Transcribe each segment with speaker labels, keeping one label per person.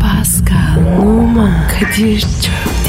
Speaker 1: Pascal, Oman, Kadir çok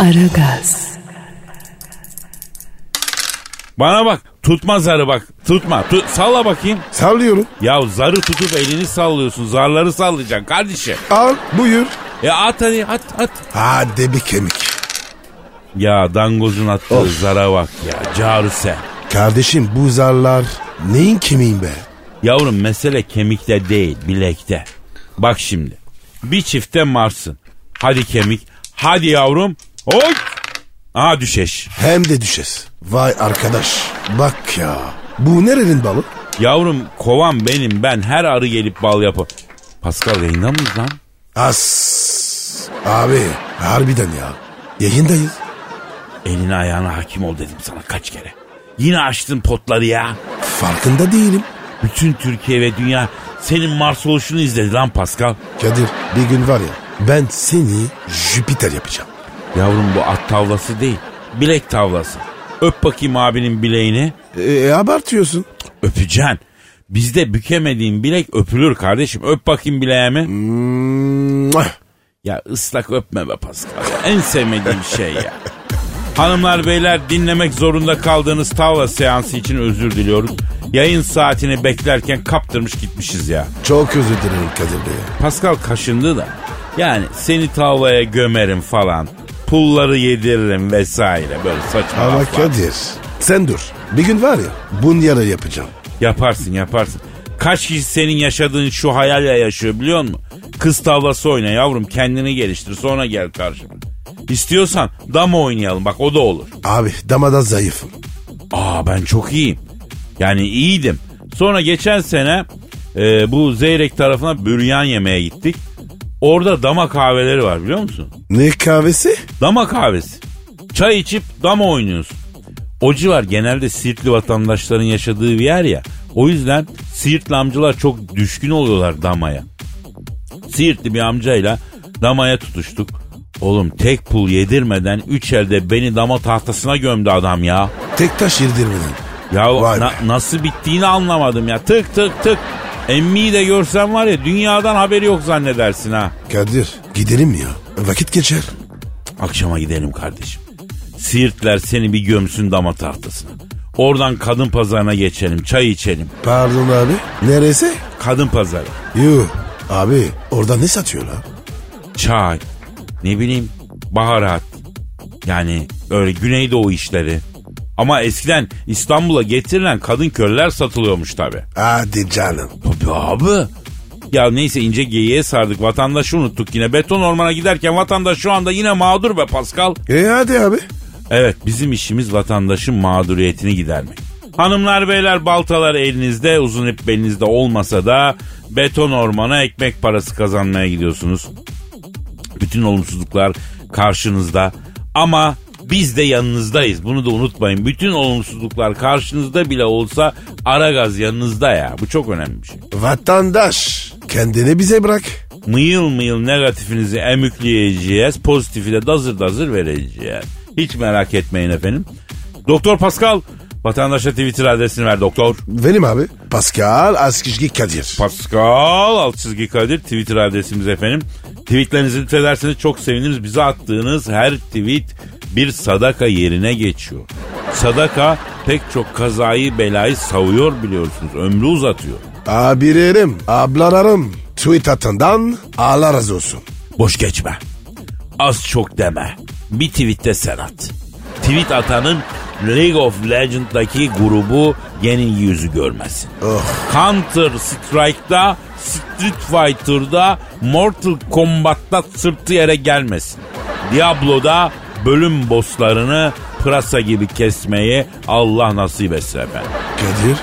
Speaker 1: Aragaz,
Speaker 2: Bana bak tutma zarı bak tutma tut, salla bakayım.
Speaker 3: Sallıyorum.
Speaker 2: Ya zarı tutup elini sallıyorsun zarları sallayacaksın kardeşim.
Speaker 3: Al buyur.
Speaker 2: Ya at hadi at at.
Speaker 3: Hadi bir kemik.
Speaker 2: Ya dangozun attığı zara bak ya caruse.
Speaker 3: Kardeşim bu zarlar neyin kemiğin be?
Speaker 2: Yavrum mesele kemikte değil bilekte. Bak şimdi bir çifte marsın. Hadi kemik hadi yavrum. Oy. Aha düşeş.
Speaker 3: Hem de düşes. Vay arkadaş. Bak ya. Bu nerenin balı?
Speaker 2: Yavrum kovan benim ben her arı gelip bal yapı. Pascal yayında mıyız lan?
Speaker 3: As. Abi harbiden ya. Yayındayız.
Speaker 2: Eline ayağına hakim ol dedim sana kaç kere. Yine açtın potları ya.
Speaker 3: Farkında değilim.
Speaker 2: Bütün Türkiye ve dünya senin Mars oluşunu izledi lan Pascal.
Speaker 3: Kadir bir gün var ya ben seni Jüpiter yapacağım.
Speaker 2: Yavrum bu at tavlası değil. Bilek tavlası. Öp bakayım abinin bileğini.
Speaker 3: E, abartıyorsun.
Speaker 2: Öpeceksin. Bizde bükemediğin bilek öpülür kardeşim. Öp bakayım bileğimi.
Speaker 3: Mwah.
Speaker 2: Ya ıslak öpme be Pascal. ya. En sevmediğim şey ya. Hanımlar beyler dinlemek zorunda kaldığınız tavla seansı için özür diliyoruz. Yayın saatini beklerken kaptırmış gitmişiz ya.
Speaker 3: Çok özür dilerim Kadir Bey.
Speaker 2: Pascal kaşındı da. Yani seni tavlaya gömerim falan. Pulları yediririm vesaire böyle saçma
Speaker 3: Ama
Speaker 2: laflar.
Speaker 3: Kadir sen dur. Bir gün var ya bunyara yapacağım.
Speaker 2: Yaparsın yaparsın. Kaç kişi senin yaşadığın şu hayalle yaşıyor biliyor musun? Kız tavlası oyna yavrum kendini geliştir sonra gel karşıma. İstiyorsan dama oynayalım bak o da olur.
Speaker 3: Abi damada zayıfım.
Speaker 2: Aa ben çok iyiyim. Yani iyiydim. Sonra geçen sene e, bu Zeyrek tarafına büryan yemeye gittik. Orada dama kahveleri var biliyor musun?
Speaker 3: Ne kahvesi?
Speaker 2: Dama kahvesi. Çay içip dama oynuyorsun. O civar genelde Siirtli vatandaşların yaşadığı bir yer ya. O yüzden Siirtli amcalar çok düşkün oluyorlar damaya. Siirtli bir amcayla damaya tutuştuk. Oğlum tek pul yedirmeden üç elde beni dama tahtasına gömdü adam ya.
Speaker 3: Tek taş yedirmeden.
Speaker 2: Ya
Speaker 3: Vay be.
Speaker 2: na- nasıl bittiğini anlamadım ya. Tık tık tık. Emmi'yi de görsen var ya dünyadan haberi yok zannedersin ha.
Speaker 3: Kadir gidelim ya. Vakit geçer.
Speaker 2: Akşama gidelim kardeşim. Siirtler seni bir gömsün dama tahtasına. Oradan kadın pazarına geçelim, çay içelim.
Speaker 3: Pardon abi. Neresi?
Speaker 2: Kadın pazarı,
Speaker 3: Yuh. Abi orada ne satıyorlar?
Speaker 2: çay, ne bileyim baharat. Yani öyle Güneydoğu işleri. Ama eskiden İstanbul'a getirilen kadın köleler satılıyormuş tabi.
Speaker 3: Hadi canım.
Speaker 2: Tabi abi. Ya neyse ince geyiğe sardık. Vatandaşı unuttuk yine. Beton ormana giderken vatandaş şu anda yine mağdur be Pascal.
Speaker 3: E hadi abi.
Speaker 2: Evet bizim işimiz vatandaşın mağduriyetini gidermek. Hanımlar beyler baltalar elinizde uzun ip belinizde olmasa da beton ormana ekmek parası kazanmaya gidiyorsunuz. Bütün olumsuzluklar karşınızda ama biz de yanınızdayız bunu da unutmayın. Bütün olumsuzluklar karşınızda bile olsa ara gaz yanınızda ya bu çok önemli bir şey.
Speaker 3: Vatandaş kendini bize bırak.
Speaker 2: Mıyıl mıyıl negatifinizi emükleyeceğiz. Pozitifi de dazır dazır vereceğiz. Hiç merak etmeyin efendim. Doktor Pascal vatandaşa Twitter adresini ver doktor.
Speaker 3: Benim abi. Pascal Askizgi Kadir.
Speaker 2: Pascal alt çizgi Kadir Twitter adresimiz efendim. Tweetlerinizi lütfederseniz çok seviniriz. Bize attığınız her tweet bir sadaka yerine geçiyor. Sadaka pek çok kazayı belayı savuyor biliyorsunuz. Ömrü uzatıyor.
Speaker 3: Abilerim, ablalarım. Tweet atından Allah razı olsun.
Speaker 2: Boş geçme. Az çok deme. Bir tweette sen at. Tweet atanın League of Legends'daki grubu yeni yüzü görmesin. Counter Strike'da, Street Fighter'da, Mortal Kombat'ta sırtı yere gelmesin. Diablo'da bölüm bosslarını pırasa gibi kesmeyi Allah nasip etsin efendim.
Speaker 3: Kadir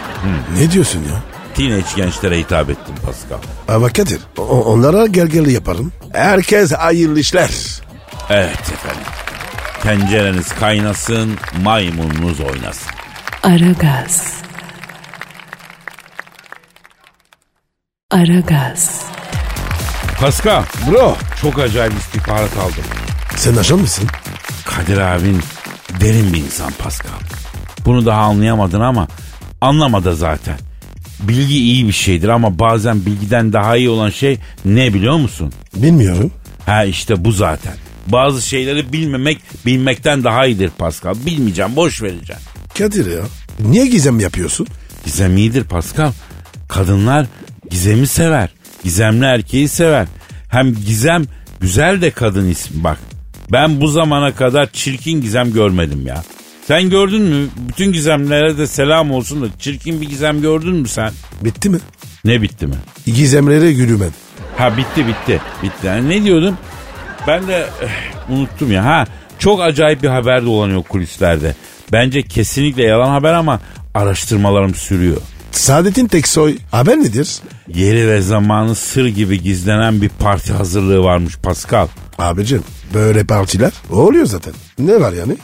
Speaker 3: ne diyorsun ya?
Speaker 2: Teenage gençlere hitap ettim Pascal.
Speaker 3: Ama Kadir o- onlara gergeli yaparım. Herkes hayırlı işler.
Speaker 2: Evet efendim. Tencereniz kaynasın, maymununuz oynasın.
Speaker 1: Aragaz. Aragaz.
Speaker 2: Paska,
Speaker 3: Bro
Speaker 2: çok acayip istihbarat aldım.
Speaker 3: sen ajan mısın?
Speaker 2: Kadir abin derin bir insan Pascal. Bunu daha anlayamadın ama anlamadı zaten. Bilgi iyi bir şeydir ama bazen bilgiden daha iyi olan şey ne biliyor musun?
Speaker 3: Bilmiyorum.
Speaker 2: Ha işte bu zaten. Bazı şeyleri bilmemek bilmekten daha iyidir Pascal. Bilmeyeceğim, boş vereceğim.
Speaker 3: Kadir ya niye gizem yapıyorsun?
Speaker 2: Gizem iyidir Pascal. Kadınlar gizemi sever. Gizemli erkeği sever. Hem gizem güzel de kadın ismi bak. Ben bu zamana kadar çirkin gizem görmedim ya. Sen gördün mü? Bütün gizemlere de selam olsun da çirkin bir gizem gördün mü sen?
Speaker 3: Bitti mi?
Speaker 2: Ne bitti mi?
Speaker 3: Gizemlere gülümen.
Speaker 2: Ha bitti bitti. Bitti. Yani ne diyordum? Ben de eh, unuttum ya. Ha çok acayip bir haber dolanıyor kulislerde. Bence kesinlikle yalan haber ama araştırmalarım sürüyor.
Speaker 3: Saadet'in Teksoy haber nedir?
Speaker 2: Yeri ve zamanı sır gibi gizlenen bir parti hazırlığı varmış Pascal.
Speaker 3: Abicim böyle partiler oluyor zaten. Ne var yani?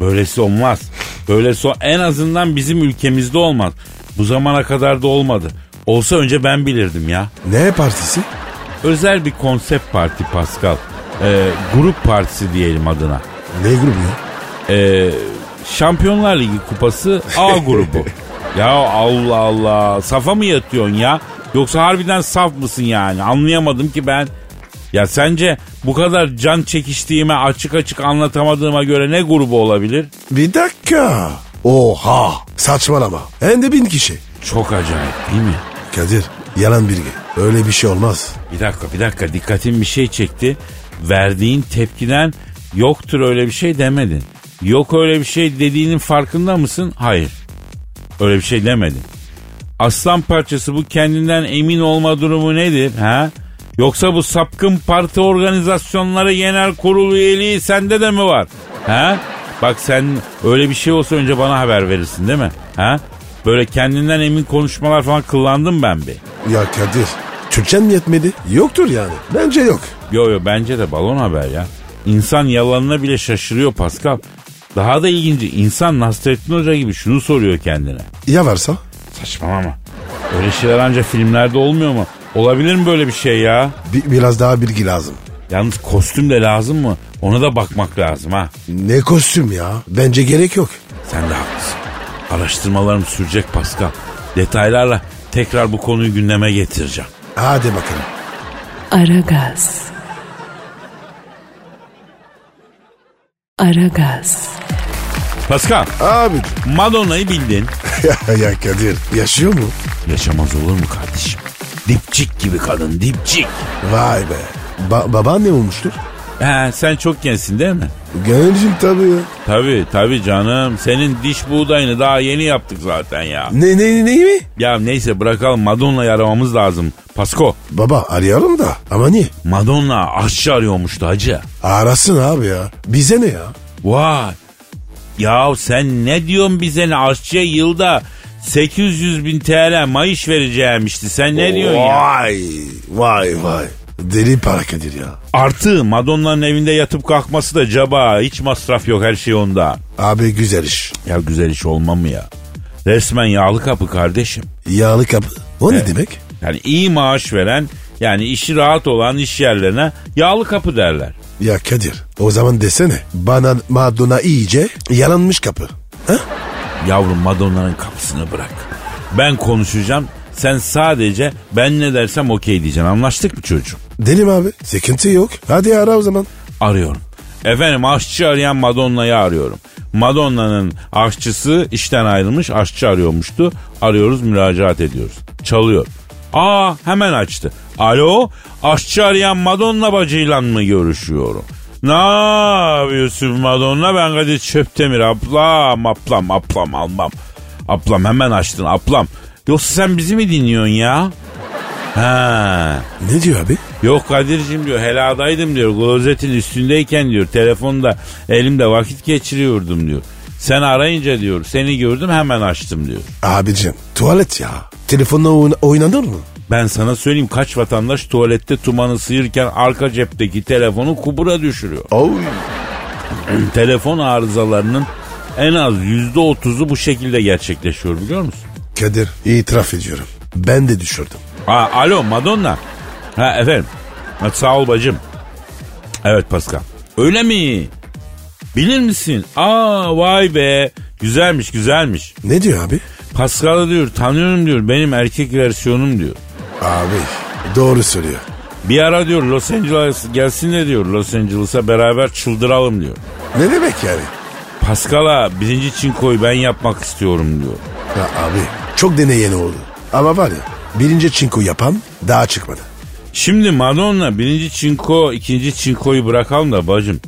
Speaker 2: Böylesi olmaz. Böylesi o- en azından bizim ülkemizde olmaz. Bu zamana kadar da olmadı. Olsa önce ben bilirdim ya.
Speaker 3: Ne partisi?
Speaker 2: Özel bir konsept parti Pascal. Ee, grup partisi diyelim adına.
Speaker 3: Ne grubu ya?
Speaker 2: Ee, Şampiyonlar Ligi kupası A grubu. ya Allah Allah. Safa mı yatıyorsun ya? Yoksa harbiden saf mısın yani? Anlayamadım ki ben. Ya sence bu kadar can çekiştiğime açık açık anlatamadığıma göre ne grubu olabilir?
Speaker 3: Bir dakika. Oha saçmalama. Hem de bin kişi.
Speaker 2: Çok acayip değil mi?
Speaker 3: Kadir yalan bilgi. Öyle bir şey olmaz.
Speaker 2: Bir dakika bir dakika dikkatim bir şey çekti. Verdiğin tepkiden yoktur öyle bir şey demedin. Yok öyle bir şey dediğinin farkında mısın? Hayır. Öyle bir şey demedin. Aslan parçası bu kendinden emin olma durumu nedir? Ha? Yoksa bu sapkın parti organizasyonları genel kurulu üyeliği sende de mi var? Ha? Bak sen öyle bir şey olsa önce bana haber verirsin değil mi? Ha? Böyle kendinden emin konuşmalar falan kıllandım ben bir.
Speaker 3: Ya Kadir Türkçen mi yetmedi? Yoktur yani. Bence yok.
Speaker 2: Yo yo bence de balon haber ya. İnsan yalanına bile şaşırıyor Pascal. Daha da ilginci insan Nasrettin Hoca gibi şunu soruyor kendine.
Speaker 3: Ya varsa?
Speaker 2: Saçmalama. Öyle şeyler ancak filmlerde olmuyor mu? Olabilir mi böyle bir şey ya?
Speaker 3: Bi- biraz daha bilgi lazım.
Speaker 2: Yalnız kostüm de lazım mı? Ona da bakmak lazım ha.
Speaker 3: Ne kostüm ya? Bence gerek yok.
Speaker 2: Sen de haklısın. Araştırmalarım sürecek Pascal. Detaylarla tekrar bu konuyu gündeme getireceğim.
Speaker 3: Hadi bakalım.
Speaker 1: Aragaz. Aragaz.
Speaker 2: Pascal,
Speaker 3: Abi
Speaker 2: Madonna'yı bildin.
Speaker 3: ya, ya Kadir yaşıyor mu?
Speaker 2: Yaşamaz olur mu kardeşim? Dipçik gibi kadın, dipçik.
Speaker 3: Vay be. Ba- babaannem olmuştur.
Speaker 2: He, sen çok gençsin değil mi?
Speaker 3: Gencim tabii ya.
Speaker 2: Tabii tabii canım. Senin diş buğdayını daha yeni yaptık zaten ya.
Speaker 3: Ne ne ne mi?
Speaker 2: Ya neyse bırakalım Madonna'yı aramamız lazım. Pasko
Speaker 3: Baba arayalım da ama niye?
Speaker 2: Madonna aşçı arıyormuştu hacı.
Speaker 3: Arasın abi ya. Bize ne ya?
Speaker 2: Vay. Ya sen ne diyorsun bize ne aşçıya yılda 800 bin TL maaş vereceğimişti. Sen ne diyorsun ya?
Speaker 3: Vay vay vay. Deli para Kadir ya.
Speaker 2: Artı Madonna'nın evinde yatıp kalkması da caba. Hiç masraf yok her şey onda.
Speaker 3: Abi güzel iş.
Speaker 2: Ya güzel iş olma mı ya? Resmen yağlı kapı kardeşim.
Speaker 3: Yağlı kapı. O ne demek?
Speaker 2: Yani iyi maaş veren yani işi rahat olan iş yerlerine yağlı kapı derler.
Speaker 3: Ya Kadir o zaman desene bana Madonna iyice yalanmış kapı. Ha?
Speaker 2: Yavrum Madonna'nın kapısını bırak. Ben konuşacağım. Sen sadece ben ne dersem okey diyeceksin. Anlaştık mı çocuğum?
Speaker 3: Deli mi abi? Sıkıntı yok. Hadi ara o zaman.
Speaker 2: Arıyorum. Efendim aşçı arayan Madonna'yı arıyorum. Madonna'nın aşçısı işten ayrılmış aşçı arıyormuştu. Arıyoruz müracaat ediyoruz. Çalıyor. Aa hemen açtı. Alo aşçı arayan Madonna bacıyla mı görüşüyorum? Ne yapıyorsun Madonna? Ben Kadir Çöptemir ablam ablam ablam almam. Ablam hemen açtın ablam. Yoksa sen bizi mi dinliyorsun ya? Ha.
Speaker 3: Ne diyor abi?
Speaker 2: Yok Kadir'cim diyor heladaydım diyor. Klozetin üstündeyken diyor telefonda elimde vakit geçiriyordum diyor. Sen arayınca diyor seni gördüm hemen açtım diyor.
Speaker 3: Abicim tuvalet ya. Telefonla oyna- oynanır mı?
Speaker 2: Ben sana söyleyeyim kaç vatandaş tuvalette tumanı sıyırken arka cepteki telefonu kubura düşürüyor.
Speaker 3: Oy.
Speaker 2: Telefon arızalarının en az yüzde otuzu bu şekilde gerçekleşiyor biliyor musun?
Speaker 3: Kadir itiraf ediyorum. Ben de düşürdüm.
Speaker 2: Ha, alo Madonna. Ha efendim. Ha, sağ ol bacım. Evet Pascal. Öyle mi? Bilir misin? Aa vay be. Güzelmiş güzelmiş.
Speaker 3: Ne diyor abi?
Speaker 2: Pascal'ı diyor tanıyorum diyor. Benim erkek versiyonum diyor.
Speaker 3: Abi doğru söylüyor.
Speaker 2: Bir ara diyor Los Angeles gelsin de diyor Los Angeles'a beraber çıldıralım diyor.
Speaker 3: Ne demek yani?
Speaker 2: Pascal'a birinci çinkoyu ben yapmak istiyorum diyor.
Speaker 3: Ya abi çok deneyeni oldu. Ama var ya birinci çinko yapan daha çıkmadı.
Speaker 2: Şimdi Madonna birinci çinko ikinci çinkoyu bırakalım da bacım.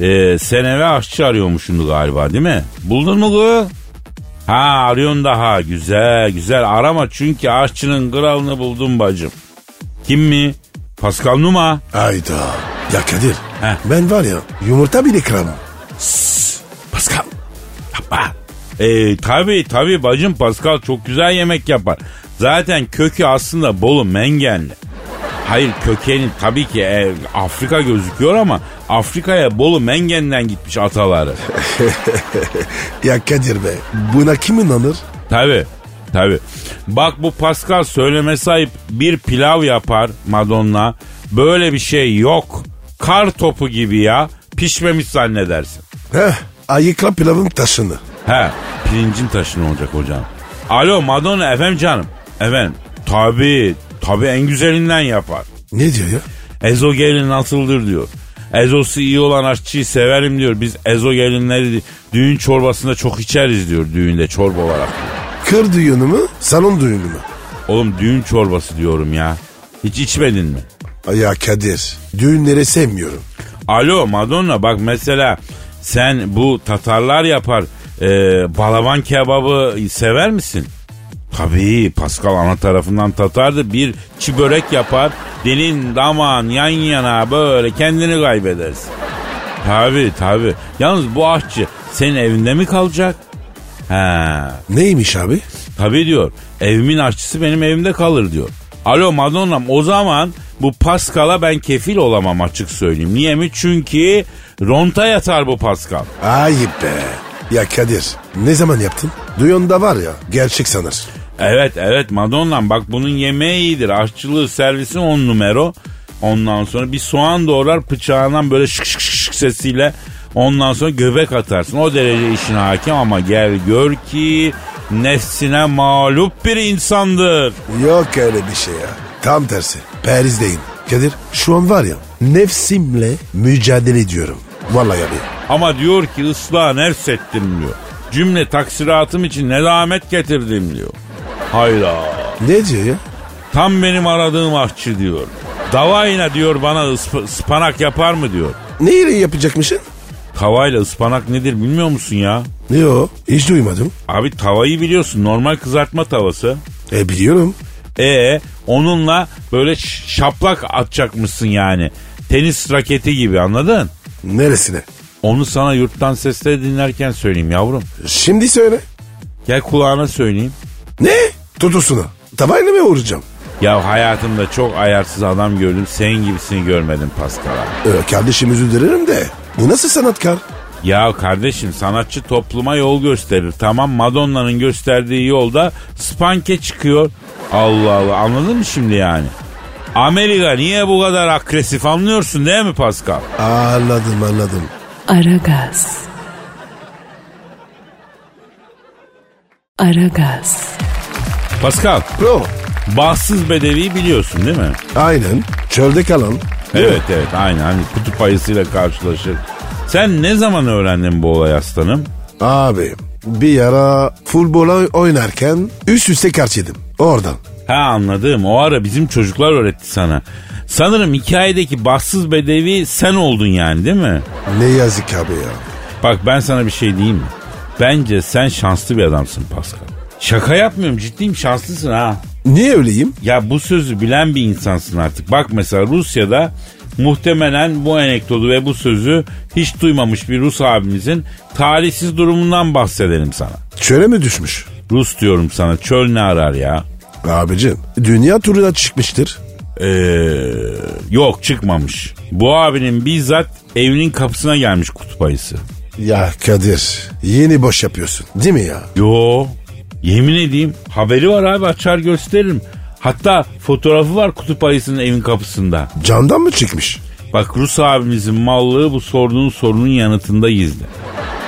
Speaker 2: Ee, sen eve aşçı arıyormuşsun galiba değil mi? Buldun mu bu? Ha arıyorsun daha güzel güzel arama çünkü aşçının kralını buldum bacım. Kim mi? Pascal Numa.
Speaker 3: Ayda. Ya Kadir
Speaker 2: He.
Speaker 3: ben var ya yumurta bile kıramam.
Speaker 2: Pascal. Yapma. Ee, tabii tabii bacım Pascal çok güzel yemek yapar. Zaten kökü aslında Bolu Mengenli. Hayır kökeni tabii ki e, Afrika gözüküyor ama Afrika'ya Bolu Mengen'den gitmiş ataları.
Speaker 3: Ya Kadir be buna kim inanır?
Speaker 2: Tabii tabii. Bak bu Pascal söylemesi ayıp bir pilav yapar Madonna. Böyle bir şey yok. Kar topu gibi ya. Pişmemiş zannedersin.
Speaker 3: Heh, ayıkla pilavın taşını.
Speaker 2: He pirincin taşını olacak hocam. Alo Madonna efendim canım. Efendim tabi tabi en güzelinden yapar.
Speaker 3: Ne diyor ya?
Speaker 2: Ezogelin nasıldır diyor. Ezosu iyi olan aşçıyı severim diyor. Biz ezogelinleri düğün çorbasında çok içeriz diyor düğünde çorba olarak.
Speaker 3: Kır düğünü mü salon düğünü mü?
Speaker 2: Oğlum düğün çorbası diyorum ya. Hiç içmedin mi?
Speaker 3: Ay Ya Kadir düğünleri sevmiyorum.
Speaker 2: Alo Madonna bak mesela sen bu Tatarlar yapar e, balaban kebabı sever misin? Tabii Pascal ana tarafından Tatar'dı. Bir çi börek yapar. Dilin damağın yan yana böyle kendini kaybedersin. Tabii tabii. Yalnız bu aşçı senin evinde mi kalacak? He.
Speaker 3: Neymiş abi?
Speaker 2: Tabii diyor. Evimin aşçısı benim evimde kalır diyor. Alo Madonna'm o zaman bu Pascal'a ben kefil olamam açık söyleyeyim. Niye mi? Çünkü ronta yatar bu Pascal.
Speaker 3: Ayıp be. Ya Kadir ne zaman yaptın? Duyonda var ya gerçek sanır.
Speaker 2: Evet evet Madonna'm bak bunun yemeği iyidir. Aşçılığı servisi on numero. Ondan sonra bir soğan doğrar bıçağından böyle şık şık şık şık sesiyle ondan sonra göbek atarsın. O derece işine hakim ama gel gör ki nefsine mağlup bir insandır.
Speaker 3: Yok öyle bir şey ya. Tam tersi. Paris'teyim. Kadir şu an var ya nefsimle mücadele ediyorum. Vallahi abi.
Speaker 2: Ama diyor ki ıslah nefs ettim diyor. Cümle taksiratım için nedamet getirdim diyor. Hayda.
Speaker 3: Ne diyor ya?
Speaker 2: Tam benim aradığım aşçı diyor. Davayla diyor bana ısp- ıspanak yapar mı diyor.
Speaker 3: Neyle yapacakmışsın?
Speaker 2: Tavayla ıspanak nedir bilmiyor musun ya?
Speaker 3: Yo hiç duymadım.
Speaker 2: Abi tavayı biliyorsun normal kızartma tavası.
Speaker 3: E biliyorum.
Speaker 2: E onunla böyle ş- şaplak atacakmışsın yani. Tenis raketi gibi anladın?
Speaker 3: Neresine?
Speaker 2: Onu sana yurttan sesleri dinlerken söyleyeyim yavrum.
Speaker 3: Şimdi söyle.
Speaker 2: Gel kulağına söyleyeyim.
Speaker 3: Ne? Tutusuna. Tavayla mı vuracağım?
Speaker 2: Ya hayatımda çok ayarsız adam gördüm. Senin gibisini görmedim Pascal abi.
Speaker 3: Ee, kardeşim özür dilerim de. Bu nasıl sanatkar?
Speaker 2: Ya kardeşim sanatçı topluma yol gösterir. Tamam Madonna'nın gösterdiği yolda spanke çıkıyor. Allah Allah anladın mı şimdi yani? Amerika niye bu kadar agresif anlıyorsun değil mi Pascal?
Speaker 3: Anladım anladım.
Speaker 1: Aragaz. Aragaz.
Speaker 2: Pascal
Speaker 3: Bro.
Speaker 2: bahtsız bedevi biliyorsun değil mi?
Speaker 3: Aynen. Çölde kalan.
Speaker 2: Evet evet aynı hani kutup ayısıyla karşılaşır. Sen ne zaman öğrendin bu olayı aslanım?
Speaker 3: Abi bir ara futbola oynarken üst üste kaç yedim. Oradan.
Speaker 2: Ha anladım. O ara bizim çocuklar öğretti sana. Sanırım hikayedeki bahtsız bedevi sen oldun yani değil mi?
Speaker 3: Ne yazık abi ya.
Speaker 2: Bak ben sana bir şey diyeyim mi? Bence sen şanslı bir adamsın Pascal. Şaka yapmıyorum ciddiyim şanslısın ha.
Speaker 3: Niye öyleyim?
Speaker 2: Ya bu sözü bilen bir insansın artık. Bak mesela Rusya'da muhtemelen bu anekdotu ve bu sözü hiç duymamış bir Rus abimizin talihsiz durumundan bahsedelim sana.
Speaker 3: Çöle mi düşmüş?
Speaker 2: Rus diyorum sana çöl ne arar ya?
Speaker 3: Abicim dünya turuna çıkmıştır.
Speaker 2: Ee, yok çıkmamış. Bu abinin bizzat evinin kapısına gelmiş kutup ayısı.
Speaker 3: Ya Kadir yeni boş yapıyorsun değil mi ya?
Speaker 2: Yo yemin edeyim haberi var abi açar gösteririm. Hatta fotoğrafı var kutup ayısının evin kapısında.
Speaker 3: Camdan mı çıkmış?
Speaker 2: Bak Rus abimizin mallığı bu sorduğun sorunun yanıtında gizli.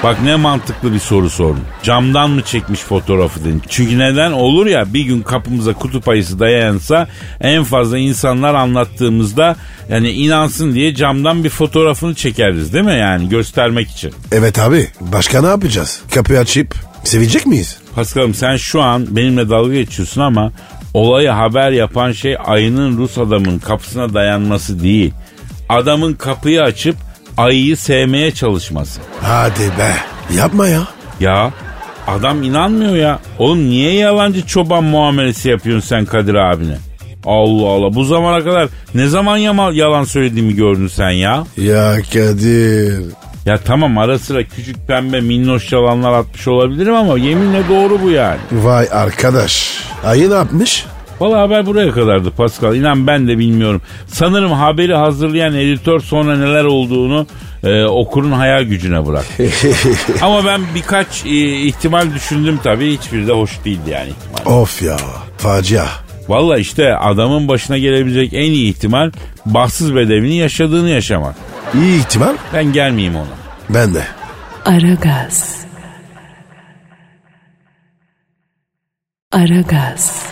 Speaker 2: Bak ne mantıklı bir soru sordun. Camdan mı çekmiş fotoğrafı dedin. Çünkü neden olur ya bir gün kapımıza kutup ayısı dayansa en fazla insanlar anlattığımızda yani inansın diye camdan bir fotoğrafını çekeriz değil mi yani göstermek için.
Speaker 3: Evet abi başka ne yapacağız? Kapıyı açıp sevecek miyiz?
Speaker 2: Paskal'ım sen şu an benimle dalga geçiyorsun ama olayı haber yapan şey ayının Rus adamın kapısına dayanması değil. Adamın kapıyı açıp ayıyı sevmeye çalışması.
Speaker 3: Hadi be yapma ya.
Speaker 2: Ya adam inanmıyor ya. Oğlum niye yalancı çoban muamelesi yapıyorsun sen Kadir abine? Allah Allah bu zamana kadar ne zaman yama- yalan söylediğimi gördün sen ya?
Speaker 3: Ya Kadir.
Speaker 2: Ya tamam ara sıra küçük pembe minnoş yalanlar atmış olabilirim ama yeminle doğru bu yani.
Speaker 3: Vay arkadaş. Ayı ne yapmış?
Speaker 2: Valla haber buraya kadardı Pascal. İnan ben de bilmiyorum. Sanırım haberi hazırlayan editör sonra neler olduğunu e, okurun hayal gücüne bırak. Ama ben birkaç e, ihtimal düşündüm tabii. Hiçbiri de hoş değildi yani ihtimal.
Speaker 3: Of ya facia.
Speaker 2: Valla işte adamın başına gelebilecek en iyi ihtimal bahtsız bedevini yaşadığını yaşamak.
Speaker 3: İyi ihtimal
Speaker 2: Ben gelmeyeyim ona.
Speaker 3: ben de.
Speaker 1: Aragaz. Aragaz.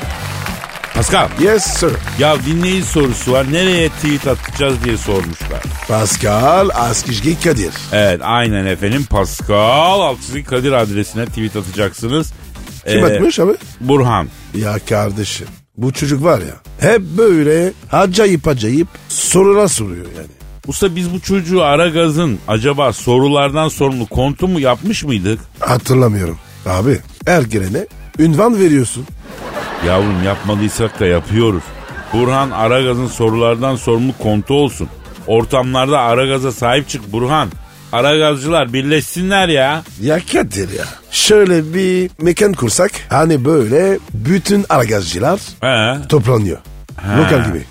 Speaker 2: Pascal
Speaker 3: Yes sir.
Speaker 2: ya dinleyici sorusu var. Nereye tweet atacağız diye sormuşlar.
Speaker 3: Pascal Askizgi Kadir.
Speaker 2: Evet aynen efendim Pascal Altçızı Kadir adresine tweet atacaksınız.
Speaker 3: Kim
Speaker 2: Ee,
Speaker 3: atmış abi?
Speaker 2: Burhan.
Speaker 3: Ya kardeşim bu çocuk var ya hep böyle acayip acayip sorular soruyor yani.
Speaker 2: Usta biz bu çocuğu Aragaz'ın acaba sorulardan sorumlu kontu mu yapmış mıydık?
Speaker 3: Hatırlamıyorum. Abi her girene ünvan veriyorsun.
Speaker 2: Yavrum yapmadıysak da yapıyoruz. Burhan Aragaz'ın sorulardan sorumlu kontu olsun. Ortamlarda Aragaz'a sahip çık Burhan. Aragazcılar birleşsinler ya.
Speaker 3: Ya Kadir ya. Şöyle bir mekan kursak hani böyle bütün aragazcılar
Speaker 2: He.
Speaker 3: toplanıyor. Lokal gibi.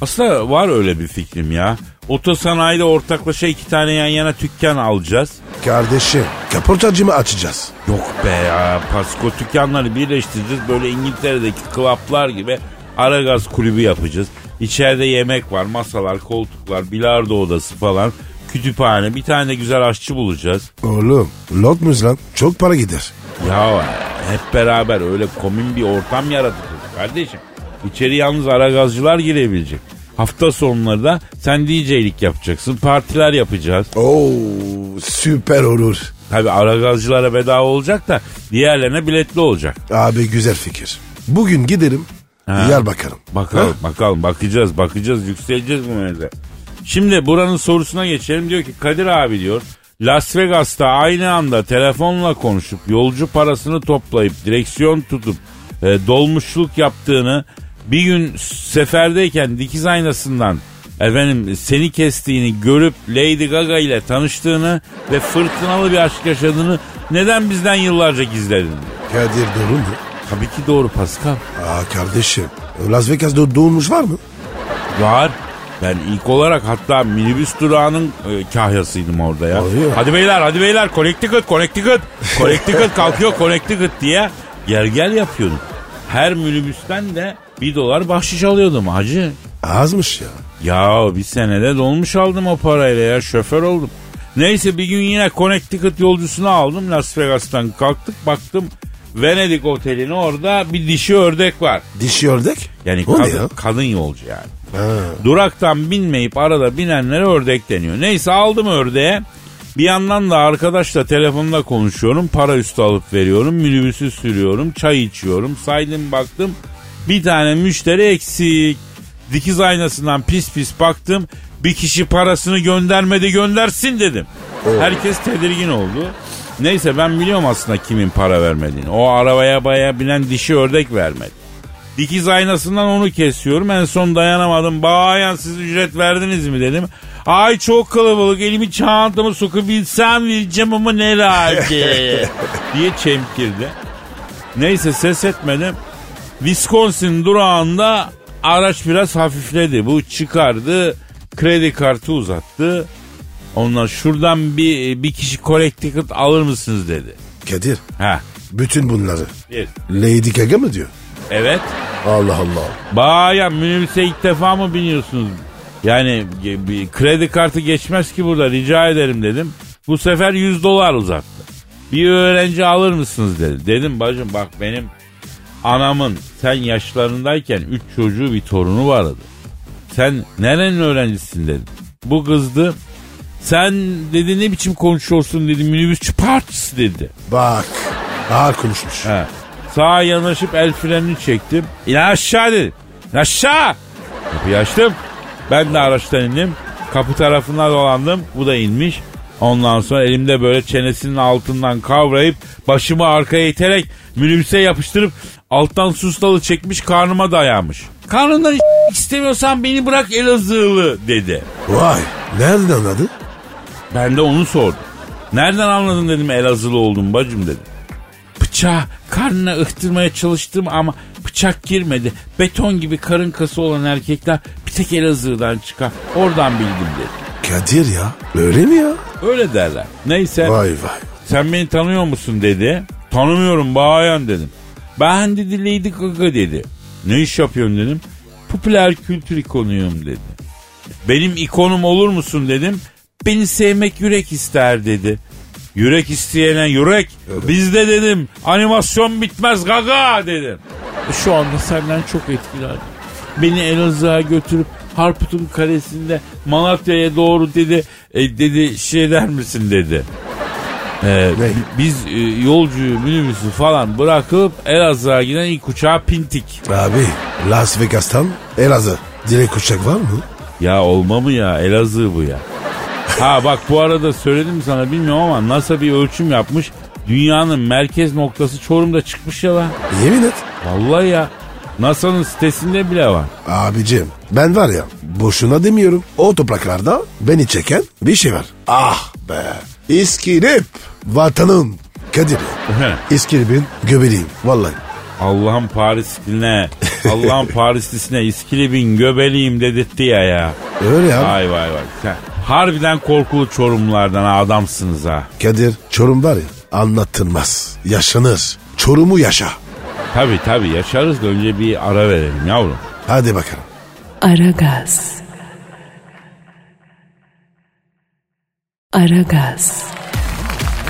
Speaker 2: Aslında var öyle bir fikrim ya. Otosanayide ortaklaşa iki tane yan yana dükkan alacağız.
Speaker 3: Kardeşim kaportacı mı açacağız?
Speaker 2: Yok be ya Pasko dükkanları birleştireceğiz böyle İngiltere'deki klaplar gibi Aragaz kulübü yapacağız. İçeride yemek var masalar koltuklar bilardo odası falan kütüphane bir tane de güzel aşçı bulacağız.
Speaker 3: Oğlum lot muyuz lan? Çok para gider.
Speaker 2: Ya hep beraber öyle komün bir ortam yaratacağız kardeşim. İçeri yalnız Aragazcılar girebilecek. Hafta sonları da sen DJ'lik yapacaksın partiler yapacağız.
Speaker 3: Oo süper olur.
Speaker 2: Tabi Aragazcılara bedava olacak da diğerlerine biletli olacak.
Speaker 3: Abi güzel fikir. Bugün giderim yer bakarım.
Speaker 2: Bakalım
Speaker 3: Ha?
Speaker 2: bakalım bakacağız bakacağız yükseleceğiz bu mevzuda. Şimdi buranın sorusuna geçelim diyor ki Kadir abi diyor Las Vegas'ta aynı anda telefonla konuşup yolcu parasını toplayıp direksiyon tutup e, dolmuşluk yaptığını bir gün seferdeyken dikiz aynasından efendim seni kestiğini görüp Lady Gaga ile tanıştığını ve fırtınalı bir aşk yaşadığını neden bizden yıllarca gizledin? diyor.
Speaker 3: Kadir doğru mu?
Speaker 2: Tabii ki doğru Pascal.
Speaker 3: Aa kardeşim Las Vegas'da doğmuş var mı?
Speaker 2: Var. Ben ilk olarak hatta minibüs durağının e, kahyasıydım orada ya.
Speaker 3: Oluyor.
Speaker 2: Hadi beyler hadi beyler Connecticut Connecticut Connecticut kalkıyor Connecticut diye gel gel yapıyordum. Her minibüsten de bir dolar bahşiş alıyordum hacı.
Speaker 3: Azmış ya.
Speaker 2: Ya bir senede dolmuş aldım o parayla ya şoför oldum. Neyse bir gün yine Connecticut yolcusunu aldım Las Vegas'tan kalktık baktım Venedik otelini orada bir dişi ördek var.
Speaker 3: Dişi ördek.
Speaker 2: Yani
Speaker 3: o ne
Speaker 2: kadın,
Speaker 3: ya?
Speaker 2: kadın yolcu yani. Duraktan binmeyip arada binenlere ördek deniyor. Neyse aldım ördeğe. Bir yandan da arkadaşla telefonda konuşuyorum. Para üstü alıp veriyorum. Minibüsü sürüyorum. Çay içiyorum. Saydım baktım. Bir tane müşteri eksik. Dikiz aynasından pis pis baktım. Bir kişi parasını göndermedi göndersin dedim. Herkes tedirgin oldu. Neyse ben biliyorum aslında kimin para vermediğini. O arabaya baya binen dişi ördek vermedi. Dikiz aynasından onu kesiyorum. En son dayanamadım. Bayan siz ücret verdiniz mi dedim. Ay çok kalabalık elimi çantamı sokabilsem vereceğim ama nerede diye çemkirdi. Neyse ses etmedim. Wisconsin durağında araç biraz hafifledi. Bu çıkardı. Kredi kartı uzattı. Onlar şuradan bir, bir kişi correct ticket alır mısınız dedi.
Speaker 3: Kadir
Speaker 2: Ha.
Speaker 3: bütün bunları
Speaker 2: Bir.
Speaker 3: Lady Gaga mı diyor?
Speaker 2: Evet.
Speaker 3: Allah Allah.
Speaker 2: Bayan minibüse ilk defa mı biniyorsunuz? Yani e, bir kredi kartı geçmez ki burada rica ederim dedim. Bu sefer 100 dolar uzattı. Bir öğrenci alır mısınız dedi. Dedim bacım bak benim anamın sen yaşlarındayken 3 çocuğu bir torunu vardı. Sen nerenin öğrencisin dedim. Bu kızdı. Sen dedi ne biçim konuşuyorsun dedi minibüsçü partisi dedi.
Speaker 3: Bak ağır konuşmuş.
Speaker 2: He. Sağa yanaşıp el frenini çektim. İn aşağı dedim. İn aşağı. Kapıyı açtım. Ben de araçtan indim. Kapı tarafından dolandım. Bu da inmiş. Ondan sonra elimde böyle çenesinin altından kavrayıp başımı arkaya iterek minibüse yapıştırıp alttan sustalı çekmiş karnıma dayanmış. Karnından istemiyorsan beni bırak Elazığlı dedi.
Speaker 3: Vay nereden anladın?
Speaker 2: Ben de onu sordum. Nereden anladın dedim Elazığlı oldum bacım dedi. Bıçağı karnına ıhtırmaya çalıştım ama bıçak girmedi. Beton gibi karın kası olan erkekler bir tek Elazığ'dan çıkar. Oradan bildim dedi.
Speaker 3: Kadir ya öyle mi ya?
Speaker 2: Öyle derler. Neyse
Speaker 3: Vay vay.
Speaker 2: sen beni tanıyor musun dedi. Tanımıyorum bayan dedim. Ben dedi Lady Gaga dedi. Ne iş yapıyorsun dedim. Popüler kültür ikonuyum dedi. Benim ikonum olur musun dedim. Beni sevmek yürek ister dedi. Yürek isteyene yürek. Bizde dedim animasyon bitmez gaga dedim. Şu anda senden çok etkilendim. Beni Elazığ'a götürüp Harput'un karesinde Malatya'ya doğru dedi. E, dedi şey der misin dedi. E,
Speaker 3: Ne?
Speaker 2: bi- biz e, yolcuyu minibüsü falan bırakıp Elazığ'a giden ilk uçağa pintik.
Speaker 3: Abi Las Vegas'tan Elazığ. Direkt uçak var mı?
Speaker 2: Ya olma mı ya Elazığ bu ya. Ha bak bu arada söyledim mi sana bilmiyorum ama NASA bir ölçüm yapmış. Dünyanın merkez noktası Çorum'da çıkmış ya lan.
Speaker 3: Yemin et.
Speaker 2: Vallahi ya. NASA'nın sitesinde bile var.
Speaker 3: Abicim ben var ya boşuna demiyorum. O topraklarda beni çeken bir şey var. Ah be. İskilip. Vatanım. Kadir. İskilip'in göbeğiyim vallahi.
Speaker 2: Allah'ın Parisli'ne, Allah'ın Parislisine İskilibin göbeliyim dedirtti ya ya.
Speaker 3: Öyle ya.
Speaker 2: Vay vay vay. Sen harbiden korkulu Çorumlulardan adamsınız ha.
Speaker 3: Kadir Çorum var ya anlatılmaz. Yaşanır. Çorum'u yaşa.
Speaker 2: Tabi tabi yaşarız da önce bir ara verelim yavrum.
Speaker 3: Hadi bakalım.
Speaker 1: Aragaz. Aragaz.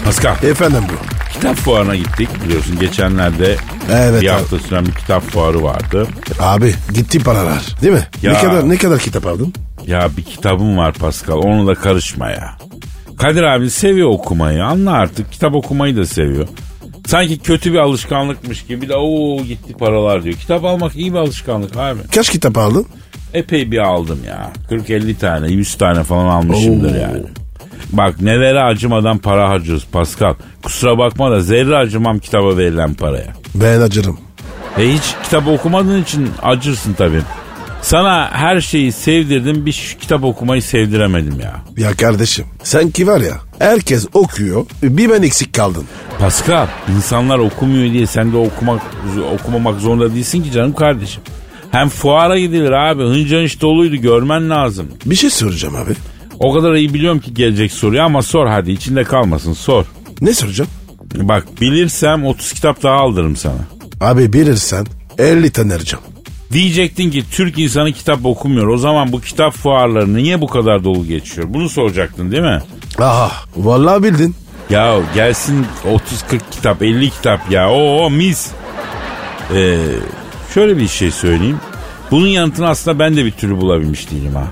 Speaker 2: Pascal.
Speaker 3: Efendim bu.
Speaker 2: Kitap fuarına gittik biliyorsun geçenlerde
Speaker 3: Evet
Speaker 2: bir
Speaker 3: abi.
Speaker 2: hafta süren bir kitap fuarı vardı.
Speaker 3: Abi gitti paralar değil mi?
Speaker 2: Ya.
Speaker 3: Ne kadar ne kadar kitap aldın?
Speaker 2: Ya bir kitabım var Pascal onu da karışma ya. Kadir abi seviyor okumayı anla artık kitap okumayı da seviyor. Sanki kötü bir alışkanlıkmış gibi de o gitti paralar diyor. Kitap almak iyi bir alışkanlık abi.
Speaker 3: Kaç kitap aldın?
Speaker 2: Epey bir aldım ya. 40-50 tane 100 tane falan almışımdır
Speaker 3: Oo.
Speaker 2: yani. Bak nelere acımadan para harcıyoruz Pascal. Kusura bakma da zerre acımam kitaba verilen paraya.
Speaker 3: Ben acırım.
Speaker 2: E hiç kitap okumadığın için acırsın tabii. Sana her şeyi sevdirdim bir şu kitap okumayı sevdiremedim ya.
Speaker 3: Ya kardeşim sen ki var ya herkes okuyor bir ben eksik kaldım.
Speaker 2: Pascal insanlar okumuyor diye sen de okumak okumamak zorunda değilsin ki canım kardeşim. Hem fuara gidilir abi hınca hınç doluydu görmen lazım.
Speaker 3: Bir şey soracağım abi.
Speaker 2: O kadar iyi biliyorum ki gelecek soruyu ama sor hadi içinde kalmasın sor.
Speaker 3: Ne soracağım?
Speaker 2: Bak bilirsem 30 kitap daha aldırım sana.
Speaker 3: Abi bilirsen 50 tane alacağım.
Speaker 2: Diyecektin ki Türk insanı kitap okumuyor. O zaman bu kitap fuarları niye bu kadar dolu geçiyor? Bunu soracaktın değil mi?
Speaker 3: Aha vallahi bildin.
Speaker 2: Ya gelsin 30-40 kitap 50 kitap ya o mis. Ee, şöyle bir şey söyleyeyim. Bunun yanıtını aslında ben de bir türlü bulabilmiş değilim ha.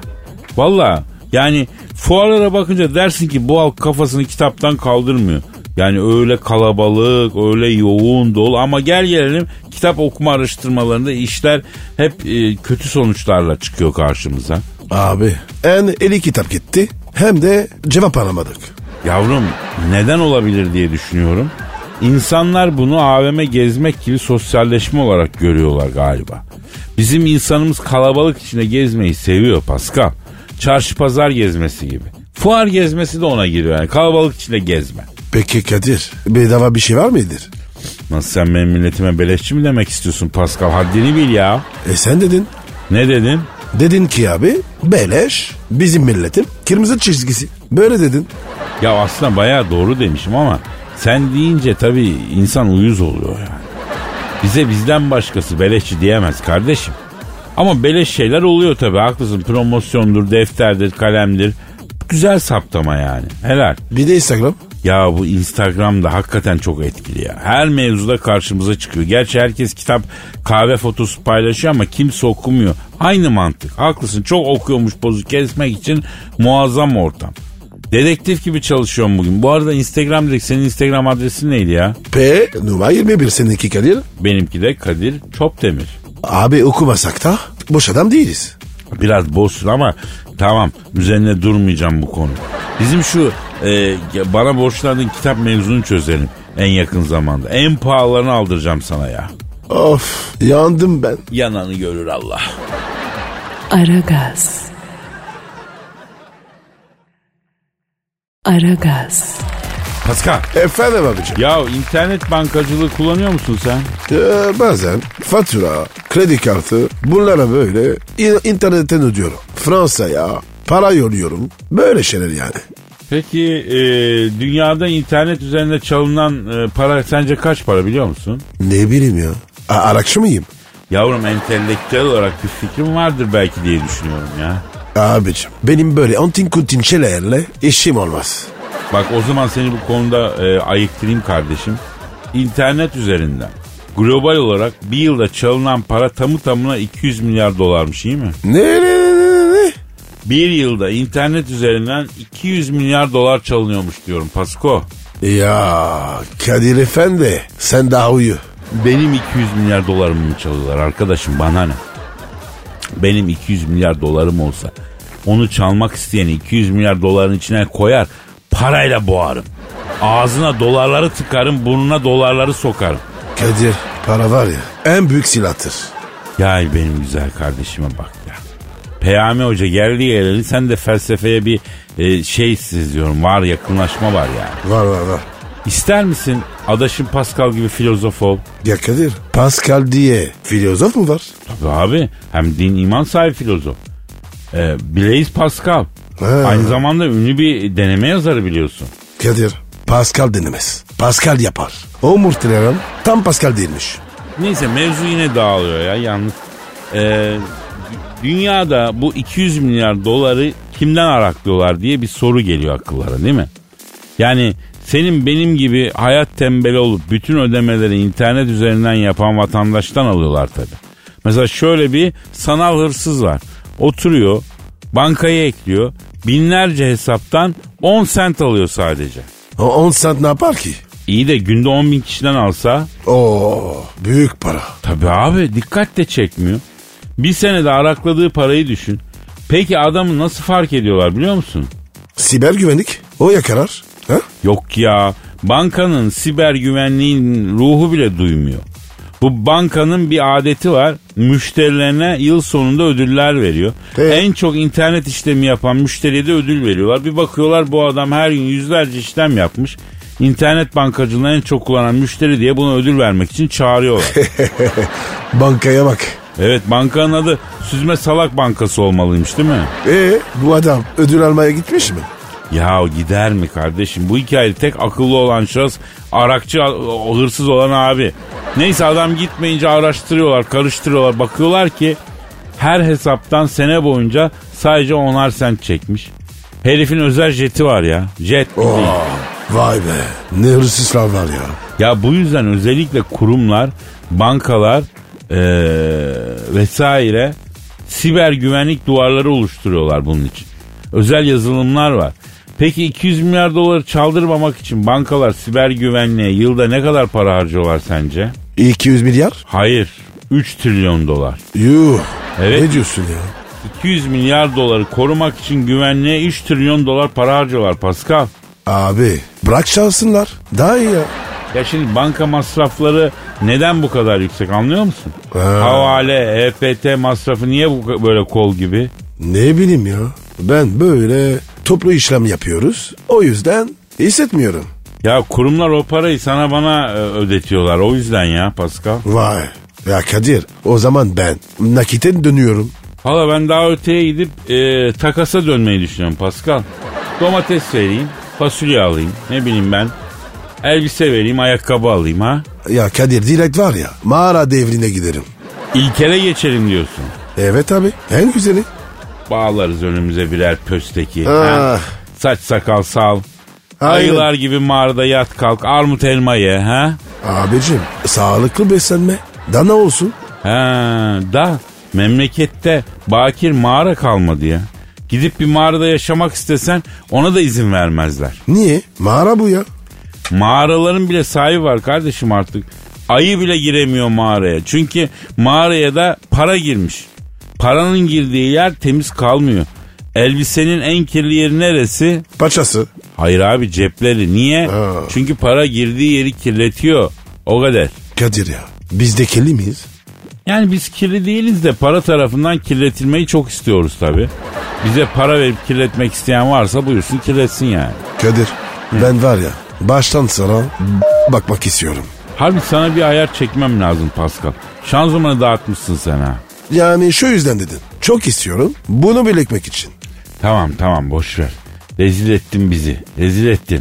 Speaker 2: Valla yani fuarlara bakınca dersin ki bu halk kafasını kitaptan kaldırmıyor. Yani öyle kalabalık, öyle yoğun, dolu ama gel gelelim kitap okuma araştırmalarında işler hep e, kötü sonuçlarla çıkıyor karşımıza.
Speaker 3: Abi en 50 kitap gitti hem de cevap alamadık.
Speaker 2: Yavrum neden olabilir diye düşünüyorum. İnsanlar bunu AVM gezmek gibi sosyalleşme olarak görüyorlar galiba. Bizim insanımız kalabalık içinde gezmeyi seviyor Pascal. Çarşı pazar gezmesi gibi. Fuar gezmesi de ona giriyor yani kalabalık içinde gezme.
Speaker 3: Peki Kadir bedava bir şey var mıdır?
Speaker 2: Nasıl sen benim milletime beleşçi mi demek istiyorsun Pascal? Haddini bil ya.
Speaker 3: E sen dedin.
Speaker 2: Ne dedim?
Speaker 3: Dedin ki abi beleş bizim milletim kırmızı çizgisi. Böyle dedin.
Speaker 2: Ya aslında bayağı doğru demişim ama sen deyince tabii insan uyuz oluyor yani. Bize bizden başkası beleşçi diyemez kardeşim. Ama beleş şeyler oluyor tabii haklısın. Promosyondur, defterdir, kalemdir. Güzel saptama yani. Helal.
Speaker 3: Bir de Instagram.
Speaker 2: Ya bu Instagram da hakikaten çok etkili ya. Her mevzuda karşımıza çıkıyor. Gerçi herkes kitap kahve fotosu paylaşıyor ama kimse okumuyor. Aynı mantık. Haklısın çok okuyormuş pozu kesmek için muazzam ortam. Dedektif gibi çalışıyorum bugün. Bu arada Instagram dedik. Senin Instagram adresin neydi ya?
Speaker 3: P numara 21 seninki Kadir.
Speaker 2: Benimki de Kadir Çopdemir.
Speaker 3: Abi okumasak da boş adam değiliz.
Speaker 2: Biraz bozsun ama tamam üzerine durmayacağım bu konu. Bizim şu e, bana borçlandığın kitap mevzunu çözelim en yakın zamanda. En pahalarını aldıracağım sana ya.
Speaker 3: Of yandım ben.
Speaker 2: Yananı görür Allah.
Speaker 1: Aragaz. Aragaz.
Speaker 2: Pascal.
Speaker 3: Efendim abicim.
Speaker 2: Ya internet bankacılığı kullanıyor musun sen?
Speaker 3: Ee, bazen fatura, kredi kartı bunlara böyle in- internetten ödüyorum. Fransa'ya para yolluyorum. Böyle şeyler yani.
Speaker 2: Peki e, dünyada internet üzerinde çalınan e, para sence kaç para biliyor musun?
Speaker 3: Ne bileyim ya. A- Arakçı mıyım?
Speaker 2: Yavrum entelektüel olarak bir fikrim vardır belki diye düşünüyorum ya.
Speaker 3: Abicim benim böyle antin kuntin şeylerle işim olmaz.
Speaker 2: Bak o zaman seni bu konuda e, ayıktırayım kardeşim. İnternet üzerinden global olarak bir yılda çalınan para tamı tamına 200 milyar dolarmış iyi mi?
Speaker 3: Ne ne ne ne ne?
Speaker 2: Bir yılda internet üzerinden 200 milyar dolar çalınıyormuş diyorum Pasko.
Speaker 3: Ya Kadir Efendi sen daha uyu.
Speaker 2: Benim 200 milyar dolarımı mı çalıyorlar arkadaşım bana ne? Benim 200 milyar dolarım olsa onu çalmak isteyeni 200 milyar doların içine koyar parayla boğarım. Ağzına dolarları tıkarım burnuna dolarları sokarım.
Speaker 3: Kadir para var ya en büyük silahtır.
Speaker 2: Ya benim güzel kardeşime bak ya. Peyami Hoca geldi geleli sen de felsefeye bir e, şey seziyorum var yakınlaşma var yani.
Speaker 3: Var var var.
Speaker 2: İster misin adaşın Pascal gibi filozof ol?
Speaker 3: Ya Kadir Pascal diye filozof mu var?
Speaker 2: Tabii abi hem din iman sahibi filozof. E, Blaise Pascal.
Speaker 3: He.
Speaker 2: Aynı zamanda ünlü bir deneme yazarı biliyorsun.
Speaker 3: Kadir Pascal denemez. Pascal yapar. O muhtemelen tam Pascal değilmiş.
Speaker 2: Neyse mevzu yine dağılıyor ya yalnız. Ee, dünyada bu 200 milyar doları kimden araklıyorlar diye bir soru geliyor akıllara değil mi? Yani senin benim gibi hayat tembeli olup bütün ödemeleri internet üzerinden yapan vatandaştan alıyorlar tabii. Mesela şöyle bir sanal hırsız var. Oturuyor, bankaya ekliyor, binlerce hesaptan 10 sent alıyor sadece.
Speaker 3: O 10 sent ne yapar ki?
Speaker 2: İyi de günde 10 bin kişiden alsa
Speaker 3: Oo büyük para.
Speaker 2: Tabii abi dikkat de çekmiyor. Bir senede arakladığı parayı düşün. Peki adamı nasıl fark ediyorlar biliyor musun?
Speaker 3: Siber güvenlik o yakalar. Ha?
Speaker 2: Yok ya bankanın siber güvenliğin ruhu bile duymuyor. Bu bankanın bir adeti var. Müşterilerine yıl sonunda ödüller veriyor.
Speaker 3: Evet.
Speaker 2: En çok internet işlemi yapan müşteriye de ödül veriyorlar. Bir bakıyorlar bu adam her gün yüzlerce işlem yapmış. İnternet bankacılığını en çok kullanan müşteri diye buna ödül vermek için çağırıyorlar.
Speaker 3: Bankaya bak.
Speaker 2: Evet bankanın adı Süzme Salak Bankası olmalıymış değil mi?
Speaker 3: E bu adam ödül almaya gitmiş mi?
Speaker 2: Ya gider mi kardeşim? Bu hikayede tek akıllı olan şahıs Arakçı, o hırsız olan abi. Neyse adam gitmeyince araştırıyorlar, karıştırıyorlar. Bakıyorlar ki her hesaptan sene boyunca sadece onar sent çekmiş. Herifin özel jeti var ya. Jet gibi.
Speaker 3: Oo, vay be ne hırsızlar var ya.
Speaker 2: Ya bu yüzden özellikle kurumlar, bankalar eee, vesaire siber güvenlik duvarları oluşturuyorlar bunun için. Özel yazılımlar var. Peki 200 milyar doları çaldırmamak için bankalar siber güvenliğe yılda ne kadar para harcıyorlar sence?
Speaker 3: 200 milyar?
Speaker 2: Hayır. 3 trilyon dolar.
Speaker 3: Yuh.
Speaker 2: Evet.
Speaker 3: Ne diyorsun ya?
Speaker 2: 200 milyar doları korumak için güvenliğe 3 trilyon dolar para harcıyorlar Pascal.
Speaker 3: Abi bırak çalsınlar. Daha iyi ya.
Speaker 2: Ya şimdi banka masrafları neden bu kadar yüksek anlıyor musun?
Speaker 3: Ee.
Speaker 2: Havale, EFT masrafı niye bu böyle kol gibi?
Speaker 3: Ne bileyim ya. Ben böyle toplu işlem yapıyoruz. O yüzden hissetmiyorum.
Speaker 2: Ya kurumlar o parayı sana bana e, ödetiyorlar. O yüzden ya Pascal.
Speaker 3: Vay. Ya Kadir o zaman ben nakiten dönüyorum.
Speaker 2: Hala ben daha öteye gidip e, takasa dönmeyi düşünüyorum Pascal. Domates vereyim, fasulye alayım, ne bileyim ben. Elbise vereyim, ayakkabı alayım ha.
Speaker 3: Ya Kadir direkt var ya mağara devrine giderim.
Speaker 2: İlkele geçelim diyorsun.
Speaker 3: Evet abi en güzeli.
Speaker 2: Bağlarız önümüze birer pösteki.
Speaker 3: Ah.
Speaker 2: ha. Saç sakal sal.
Speaker 3: Aynen.
Speaker 2: Ayılar gibi mağarada yat kalk. Armut elma ye ha.
Speaker 3: Abicim sağlıklı beslenme. Dana olsun.
Speaker 2: Ha da memlekette bakir mağara kalmadı ya. Gidip bir mağarada yaşamak istesen ona da izin vermezler.
Speaker 3: Niye? Mağara bu ya.
Speaker 2: Mağaraların bile sahibi var kardeşim artık. Ayı bile giremiyor mağaraya. Çünkü mağaraya da para girmiş. Paranın girdiği yer temiz kalmıyor. Elbisenin en kirli yeri neresi?
Speaker 3: Paçası.
Speaker 2: Hayır abi cepleri. Niye?
Speaker 3: Ha.
Speaker 2: Çünkü para girdiği yeri kirletiyor. O kadar.
Speaker 3: Kadir ya biz de kirli miyiz?
Speaker 2: Yani biz kirli değiliz de para tarafından kirletilmeyi çok istiyoruz tabii. Bize para verip kirletmek isteyen varsa buyursun kirletsin yani.
Speaker 3: Kadir ben var ya baştan sona bakmak istiyorum.
Speaker 2: Harbi sana bir ayar çekmem lazım Pascal. Şanzımanı dağıtmışsın sen ha.
Speaker 3: Yani şu yüzden dedin. Çok istiyorum bunu belirtmek için.
Speaker 2: Tamam tamam boş ver. Rezil ettin bizi. Rezil ettin.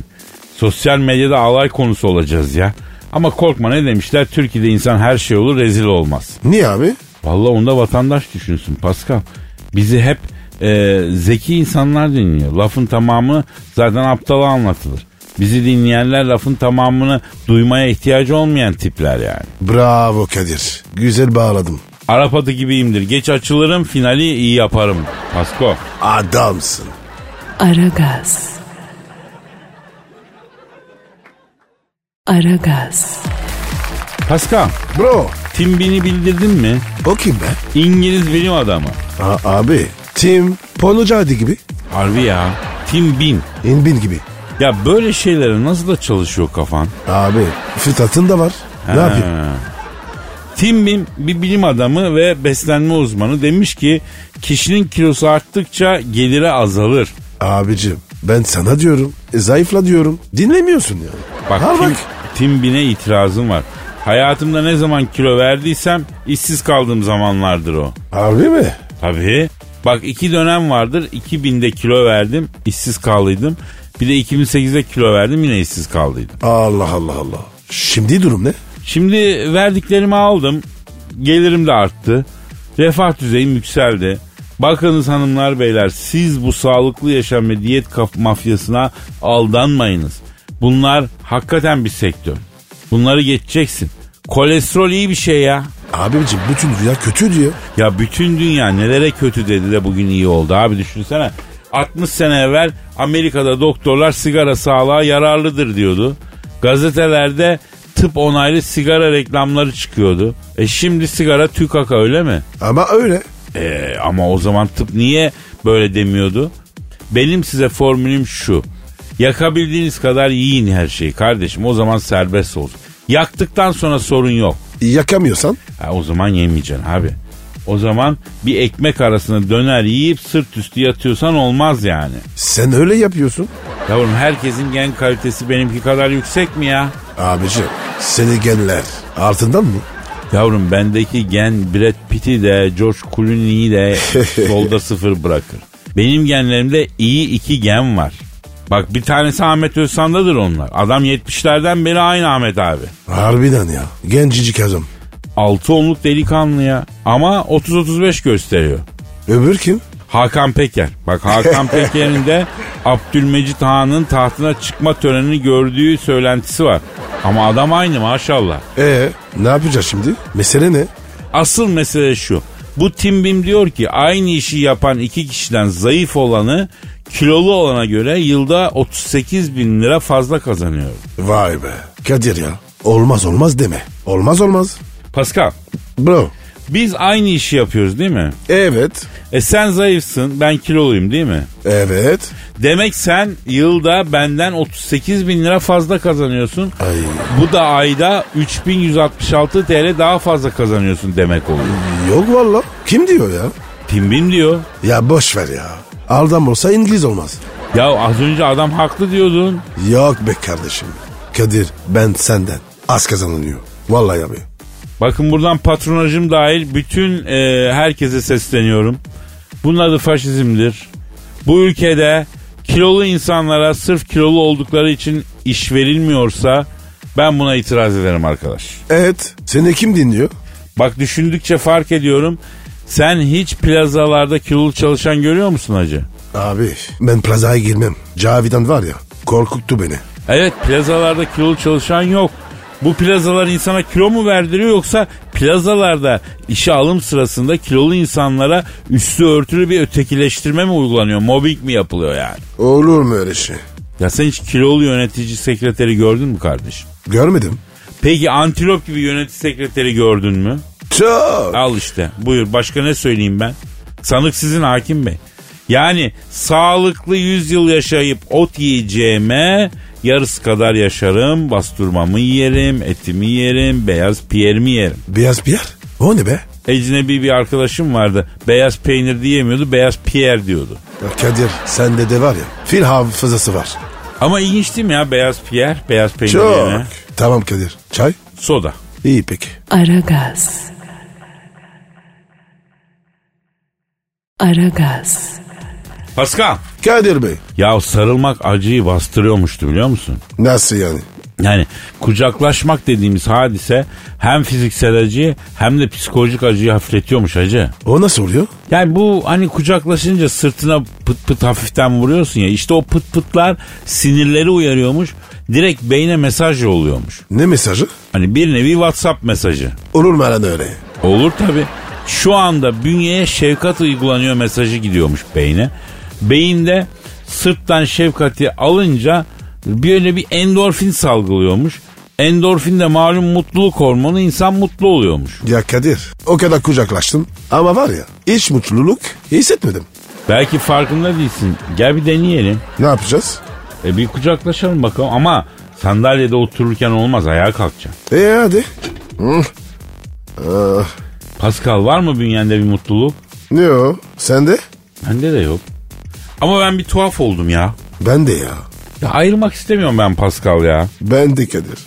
Speaker 2: Sosyal medyada alay konusu olacağız ya. Ama korkma ne demişler? Türkiye'de insan her şey olur rezil olmaz.
Speaker 3: Niye abi?
Speaker 2: Vallahi onda vatandaş düşünsün Pascal. Bizi hep e, zeki insanlar dinliyor. Lafın tamamı zaten aptala anlatılır. Bizi dinleyenler lafın tamamını duymaya ihtiyacı olmayan tipler yani.
Speaker 3: Bravo Kadir. Güzel bağladım.
Speaker 2: Arap atı gibiyimdir. Geç açılırım finali iyi yaparım. Pasko.
Speaker 3: Adamsın.
Speaker 1: Aragaz. Aragaz.
Speaker 2: Pascal.
Speaker 3: Bro
Speaker 2: Timbin'i bildirdin mi?
Speaker 3: o kim be?
Speaker 2: İngiliz bilim adamı.
Speaker 3: A- abi Tim Ponucu Hadi gibi.
Speaker 2: Harbi ya. Tim Bin.
Speaker 3: İnbin gibi.
Speaker 2: Ya böyle şeylere nasıl da çalışıyor kafan?
Speaker 3: Abi fıtratın da var. Ne
Speaker 2: Ha.
Speaker 3: yapayım?
Speaker 2: Tim Bin bir bilim adamı ve beslenme uzmanı demiş ki kişinin kilosu arttıkça geliri azalır.
Speaker 3: Abicim ben sana diyorum. e, zayıfla diyorum. Dinlemiyorsun ya.
Speaker 2: Bak,
Speaker 3: Al
Speaker 2: Tim, Tim Bin'e itirazım var. Hayatımda ne zaman kilo verdiysem işsiz kaldığım zamanlardır o.
Speaker 3: Harbi mi?
Speaker 2: Tabii. Bak iki dönem vardır. 2000'de kilo verdim. işsiz kaldıydım. Bir de 2008'de kilo verdim yine işsiz kaldıydım.
Speaker 3: Allah Allah Allah. Şimdi durum ne?
Speaker 2: Şimdi verdiklerimi aldım. Gelirim de arttı. Refah düzeyim yükseldi. Bakınız hanımlar beyler siz bu sağlıklı yaşam ve diyet kaf- mafyasına aldanmayınız. Bunlar hakikaten bir sektör. Bunları geçeceksin. Kolesterol iyi bir şey ya.
Speaker 3: Abicim bütün dünya kötü diyor.
Speaker 2: Ya bütün dünya nelere kötü dedi de bugün iyi oldu abi düşünsene. 60 sene evvel Amerika'da doktorlar sigara sağlığa yararlıdır diyordu. Gazetelerde tıp onaylı sigara reklamları çıkıyordu. E şimdi sigara tükaka öyle mi?
Speaker 3: Ama öyle.
Speaker 2: E, ama o zaman tıp niye böyle demiyordu? Benim size formülüm şu. Yakabildiğiniz kadar yiyin her şeyi kardeşim o zaman serbest olsun. Yaktıktan sonra sorun yok.
Speaker 3: Yakamıyorsan
Speaker 2: Ha, o zaman yemeyeceksin abi. O zaman bir ekmek arasına döner yiyip sırt üstü yatıyorsan olmaz yani.
Speaker 3: sen öyle yapıyorsun.
Speaker 2: Yavrum herkesin gen kalitesi benimki kadar yüksek mi ya?
Speaker 3: Abicim seni genler altından mı?
Speaker 2: Yavrum bendeki gen Brad Pitt'i de George Clooney'i de solda sıfır bırakır. Benim genlerimde iyi iki gen var. Bak bir tanesi Ahmet Özsan'dadır onlar. Adam 70'lerden beri aynı Ahmet abi.
Speaker 3: Harbiden ya. Gencicik adam.
Speaker 2: 6 onluk delikanlı ya. Ama 30-35 gösteriyor.
Speaker 3: Öbür kim?
Speaker 2: Hakan Peker. Bak Hakan Peker'in de Abdülmecit Han'ın tahtına çıkma törenini gördüğü söylentisi var. Ama adam aynı maşallah.
Speaker 3: Ee ne yapacağız şimdi? Mesele ne?
Speaker 2: Asıl mesele şu. Bu Tim Bim diyor ki aynı işi yapan iki kişiden zayıf olanı kilolu olana göre yılda 38 bin lira fazla kazanıyor.
Speaker 3: Vay be. Kadir ya. Olmaz olmaz deme. Olmaz olmaz.
Speaker 2: Pascal
Speaker 3: Bro.
Speaker 2: biz aynı işi yapıyoruz değil mi?
Speaker 3: Evet.
Speaker 2: E sen zayıfsın ben kiloluyum değil mi?
Speaker 3: Evet.
Speaker 2: Demek sen yılda benden 38 bin lira fazla kazanıyorsun.
Speaker 3: Ay.
Speaker 2: Bu da ayda 3166 TL daha fazla kazanıyorsun demek oluyor.
Speaker 3: Yok valla. Kim diyor ya?
Speaker 2: Timbim diyor.
Speaker 3: Ya boş ver ya. Aldam olsa İngiliz olmaz.
Speaker 2: Ya az önce adam haklı diyordun.
Speaker 3: Yok be kardeşim. Kadir ben senden az kazanılıyor. Vallahi abi.
Speaker 2: Bakın buradan patronajım dahil bütün e, herkese sesleniyorum. Bunun adı faşizmdir. Bu ülkede kilolu insanlara sırf kilolu oldukları için iş verilmiyorsa ben buna itiraz ederim arkadaş.
Speaker 3: Evet seni kim dinliyor?
Speaker 2: Bak düşündükçe fark ediyorum. Sen hiç plazalarda kilolu çalışan görüyor musun hacı?
Speaker 3: Abi ben plazaya girmem. Cavidan var ya korkuttu beni.
Speaker 2: Evet plazalarda kilolu çalışan yok. Bu plazalar insana kilo mu verdiriyor yoksa plazalarda işe alım sırasında kilolu insanlara üstü örtülü bir ötekileştirme mi uygulanıyor? Mobbing mi yapılıyor yani?
Speaker 3: Olur mu öyle şey?
Speaker 2: Ya sen hiç kilolu yönetici sekreteri gördün mü kardeşim?
Speaker 3: Görmedim.
Speaker 2: Peki antilop gibi yönetici sekreteri gördün mü?
Speaker 3: Çok.
Speaker 2: Al işte buyur başka ne söyleyeyim ben? Sanık sizin hakim bey. Yani sağlıklı 100 yıl yaşayıp ot yiyeceğime yarısı kadar yaşarım. Bastırmamı yerim, etimi yerim, beyaz piyerimi yerim.
Speaker 3: Beyaz bir yer. O ne be?
Speaker 2: Ecnebi bir arkadaşım vardı. Beyaz peynir diyemiyordu, beyaz piyer diyordu.
Speaker 3: Ya Kadir sende de var ya fil hafızası var.
Speaker 2: Ama ilginç değil mi ya beyaz piyer, beyaz peynir yerine?
Speaker 3: Tamam Kadir. Çay?
Speaker 2: Soda.
Speaker 3: İyi peki.
Speaker 1: Aragaz. Aragaz.
Speaker 2: Pascal.
Speaker 3: Kadir Bey.
Speaker 2: Ya sarılmak acıyı bastırıyormuştu biliyor musun?
Speaker 3: Nasıl yani?
Speaker 2: Yani kucaklaşmak dediğimiz hadise hem fiziksel acıyı hem de psikolojik acıyı hafifletiyormuş hacı.
Speaker 3: O nasıl oluyor?
Speaker 2: Yani bu hani kucaklaşınca sırtına pıt pıt hafiften vuruyorsun ya işte o pıt pıtlar sinirleri uyarıyormuş direkt beyne mesaj yolluyormuş.
Speaker 3: Ne mesajı?
Speaker 2: Hani bir nevi WhatsApp mesajı.
Speaker 3: Olur mu lan öyle?
Speaker 2: Olur tabi. Şu anda bünyeye şefkat uygulanıyor mesajı gidiyormuş beyne. Beyinde sırttan şefkati alınca böyle bir endorfin salgılıyormuş. Endorfin de malum mutluluk hormonu insan mutlu oluyormuş.
Speaker 3: Ya Kadir o kadar kucaklaştın ama var ya hiç mutluluk hissetmedim.
Speaker 2: Belki farkında değilsin. Gel bir deneyelim.
Speaker 3: Ne yapacağız?
Speaker 2: E bir kucaklaşalım bakalım ama sandalyede otururken olmaz ayağa kalkacaksın.
Speaker 3: E hadi.
Speaker 2: Pascal var mı bünyende bir mutluluk?
Speaker 3: Ne o? Sende?
Speaker 2: Bende de yok. Ama ben bir tuhaf oldum ya.
Speaker 3: Ben de ya.
Speaker 2: Ya ayrılmak istemiyorum ben Pascal ya.
Speaker 3: Ben de Kadir.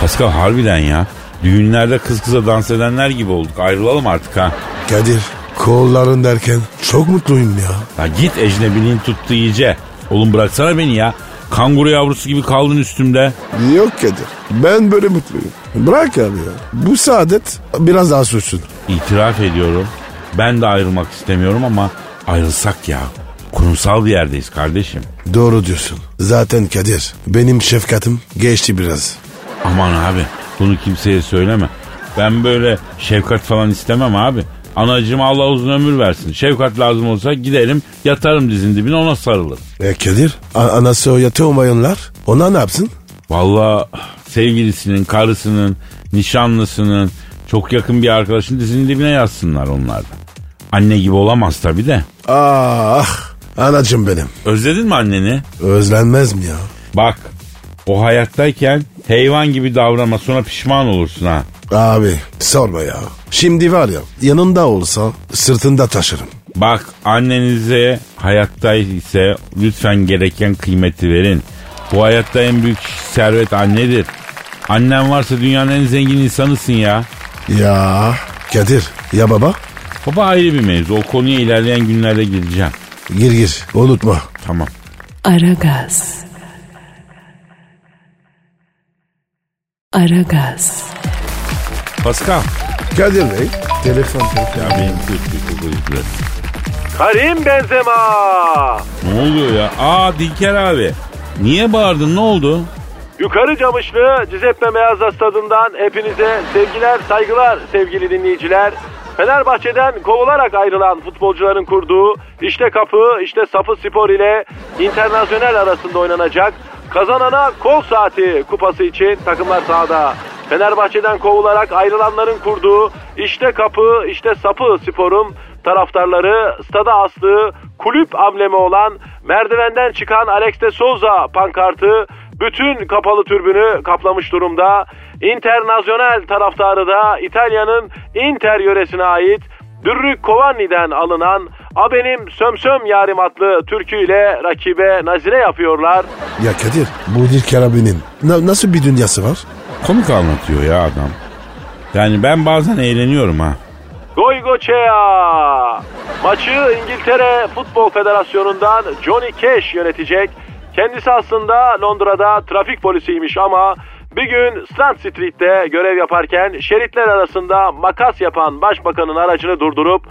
Speaker 2: Pascal harbiden ya. Düğünlerde kız kıza dans edenler gibi olduk. Ayrılalım artık ha.
Speaker 3: Kadir kolların derken çok mutluyum ya.
Speaker 2: Ya git ecnebiliğin tuttu iyice. Oğlum bıraksana beni ya. Kanguru yavrusu gibi kaldın üstümde.
Speaker 3: Yok Kadir ben böyle mutluyum. Bırak abi ya. Bu saadet biraz daha sürsün.
Speaker 2: İtiraf ediyorum. Ben de ayrılmak istemiyorum ama ayrılsak ya. Kurumsal bir yerdeyiz kardeşim.
Speaker 3: Doğru diyorsun. Zaten Kadir benim şefkatim geçti biraz.
Speaker 2: Aman abi bunu kimseye söyleme. Ben böyle şefkat falan istemem abi. Anacığım Allah uzun ömür versin. Şefkat lazım olsa giderim yatarım dizin dibine ona sarılırım.
Speaker 3: E Kadir a- anası o yatı olmayanlar ona ne yapsın?
Speaker 2: Valla sevgilisinin, karısının, nişanlısının, çok yakın bir arkadaşının dizinin dibine yatsınlar onlar da. Anne gibi olamaz tabii de.
Speaker 3: Ah anacım benim.
Speaker 2: Özledin mi anneni?
Speaker 3: Özlenmez mi ya?
Speaker 2: Bak o hayattayken hayvan gibi davranma sonra pişman olursun ha.
Speaker 3: Abi sorma ya. Şimdi var ya yanında olsa sırtında taşırım.
Speaker 2: Bak annenize hayatta ise lütfen gereken kıymeti verin. Bu hayatta en büyük servet annedir. Annen varsa dünyanın en zengin insanısın ya.
Speaker 3: Ya Kadir ya baba
Speaker 2: Baba ayrı bir mevzu. O konuya ilerleyen günlerde gireceğim.
Speaker 3: gir gir unutma.
Speaker 2: Tamam.
Speaker 1: Aragaz. Aragaz.
Speaker 2: Pascal.
Speaker 3: Kadir Bey telefon.
Speaker 2: Ya benim kötü kokuyu biraz.
Speaker 4: Karim Benzema.
Speaker 2: Ne oluyor ya? Aa Dilker abi. Niye bağırdın ne oldu?
Speaker 4: Yukarı Camışlı Cizeppe Meazza stadından hepinize sevgiler, saygılar sevgili dinleyiciler. Fenerbahçe'den kovularak ayrılan futbolcuların kurduğu işte kapı, işte safı spor ile internasyonel arasında oynanacak kazanana kol saati kupası için takımlar sahada. Fenerbahçe'den kovularak ayrılanların kurduğu işte kapı, işte sapı sporun taraftarları stada astığı kulüp amblemi olan merdivenden çıkan Alex de Souza pankartı bütün kapalı türbünü kaplamış durumda. Internasyonel taraftarı da İtalya'nın Inter yöresine ait Dürrü Kovanni'den alınan A Benim Sömsöm Yarim adlı türküyle rakibe nazire yapıyorlar.
Speaker 3: Ya Kadir Mudir Karabi'nin na- nasıl bir dünyası var?
Speaker 2: Komik anlatıyor ya adam. Yani ben bazen eğleniyorum ha.
Speaker 4: Goy Goçea! Maçı İngiltere Futbol Federasyonu'ndan Johnny Cash yönetecek. Kendisi aslında Londra'da trafik polisiymiş ama bir gün Strand Street'te görev yaparken şeritler arasında makas yapan başbakanın aracını durdurup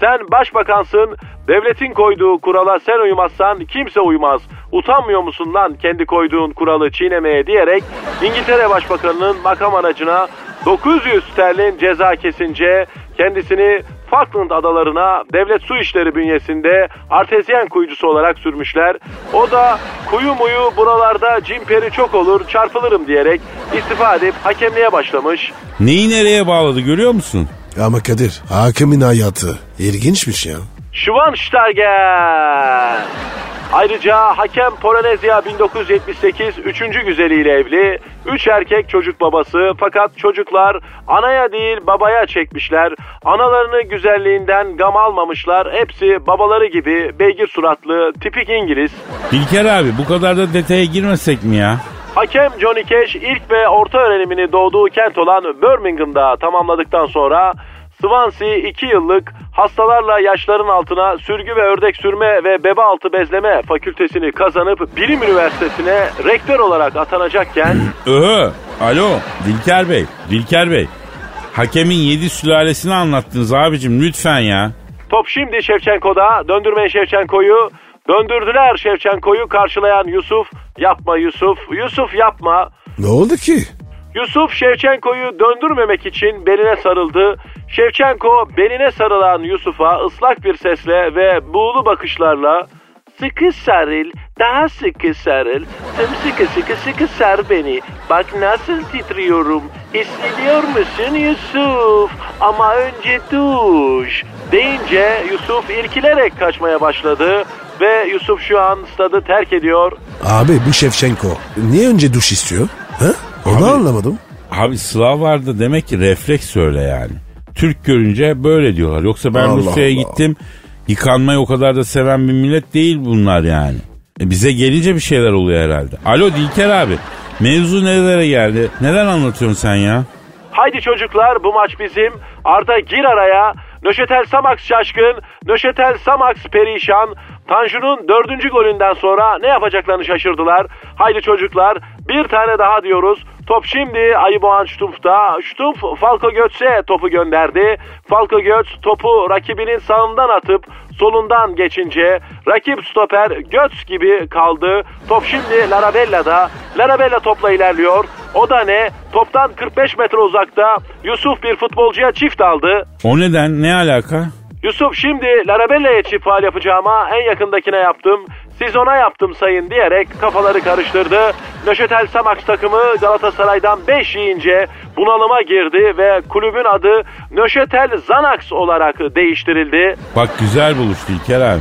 Speaker 4: sen başbakansın, devletin koyduğu kurala sen uymazsan kimse uymaz. Utanmıyor musun lan kendi koyduğun kuralı çiğnemeye diyerek İngiltere Başbakanı'nın makam aracına 900 sterlin ceza kesince kendisini Falkland adalarına devlet su işleri bünyesinde artezyen kuyucusu olarak sürmüşler. O da kuyu muyu buralarda cimperi çok olur çarpılırım diyerek istifa edip hakemliğe başlamış.
Speaker 2: Neyi nereye bağladı görüyor musun?
Speaker 3: Ama Kadir hakimin hayatı ilginçmiş ya.
Speaker 4: Schwansteiger. Ayrıca hakem Polonezya 1978 üçüncü güzeliyle evli. Üç erkek çocuk babası fakat çocuklar anaya değil babaya çekmişler. Analarını güzelliğinden gam almamışlar. Hepsi babaları gibi beygir suratlı tipik İngiliz.
Speaker 2: Dilker abi bu kadar da detaya girmesek mi ya?
Speaker 4: Hakem Johnny Cash ilk ve orta öğrenimini doğduğu kent olan Birmingham'da tamamladıktan sonra Swansea 2 yıllık hastalarla yaşların altına sürgü ve ördek sürme ve bebe altı bezleme fakültesini kazanıp bilim üniversitesine rektör olarak atanacakken
Speaker 2: Öhö. Alo Dilker Bey. Dilker Bey. Hakemin yedi sülalesini anlattınız abicim lütfen ya.
Speaker 4: Top şimdi Şevçenko'da. Döndürmeyin Şevçenko'yu. Döndürdüler Şevçenko'yu karşılayan Yusuf. Yapma Yusuf. Yusuf yapma.
Speaker 3: Ne oldu ki?
Speaker 4: Yusuf Şevçenko'yu döndürmemek için beline sarıldı. Şevçenko beline sarılan Yusuf'a ıslak bir sesle ve buğulu bakışlarla Sıkı sarıl, daha sıkı sarıl, sımsıkı sıkı sıkı sar beni. Bak nasıl titriyorum, hissediyor musun Yusuf? Ama önce duş. Deyince Yusuf irkilerek kaçmaya başladı ve Yusuf şu an stadı terk ediyor.
Speaker 3: Abi bu Şevçenko niye önce duş istiyor? Ha? Onu
Speaker 2: Abi-
Speaker 3: anlamadım.
Speaker 2: Abi Slav vardı demek ki refleks öyle yani. Türk görünce böyle diyorlar. Yoksa ben
Speaker 3: Allah
Speaker 2: Rusya'ya
Speaker 3: Allah.
Speaker 2: gittim. Yıkanmayı o kadar da seven bir millet değil bunlar yani. E bize gelince bir şeyler oluyor herhalde. Alo Dilker abi. Mevzu nerelere geldi? Neden anlatıyorsun sen ya?
Speaker 4: Haydi çocuklar bu maç bizim. Arda gir araya. Nöşetel Samax şaşkın. Nöşetel Samax perişan. Tanju'nun dördüncü golünden sonra ne yapacaklarını şaşırdılar. Haydi çocuklar bir tane daha diyoruz. Top şimdi Ayıboğan Ştump'ta. Ştump Falco Götz'e topu gönderdi. Falco Götz topu rakibinin sağından atıp solundan geçince rakip stoper Götz gibi kaldı. Top şimdi Larabella'da. Larabella topla ilerliyor. O da ne? Toptan 45 metre uzakta Yusuf bir futbolcuya çift aldı.
Speaker 2: O neden? Ne alaka?
Speaker 4: Yusuf şimdi Larabella'ya çift faal yapacağıma en yakındakine yaptım. Siz ona yaptım sayın diyerek kafaları karıştırdı. Nöşetel Samax takımı Galatasaray'dan 5 yiyince bunalıma girdi ve kulübün adı Nöşetel Zanax olarak değiştirildi.
Speaker 2: Bak güzel buluş Dilker abi.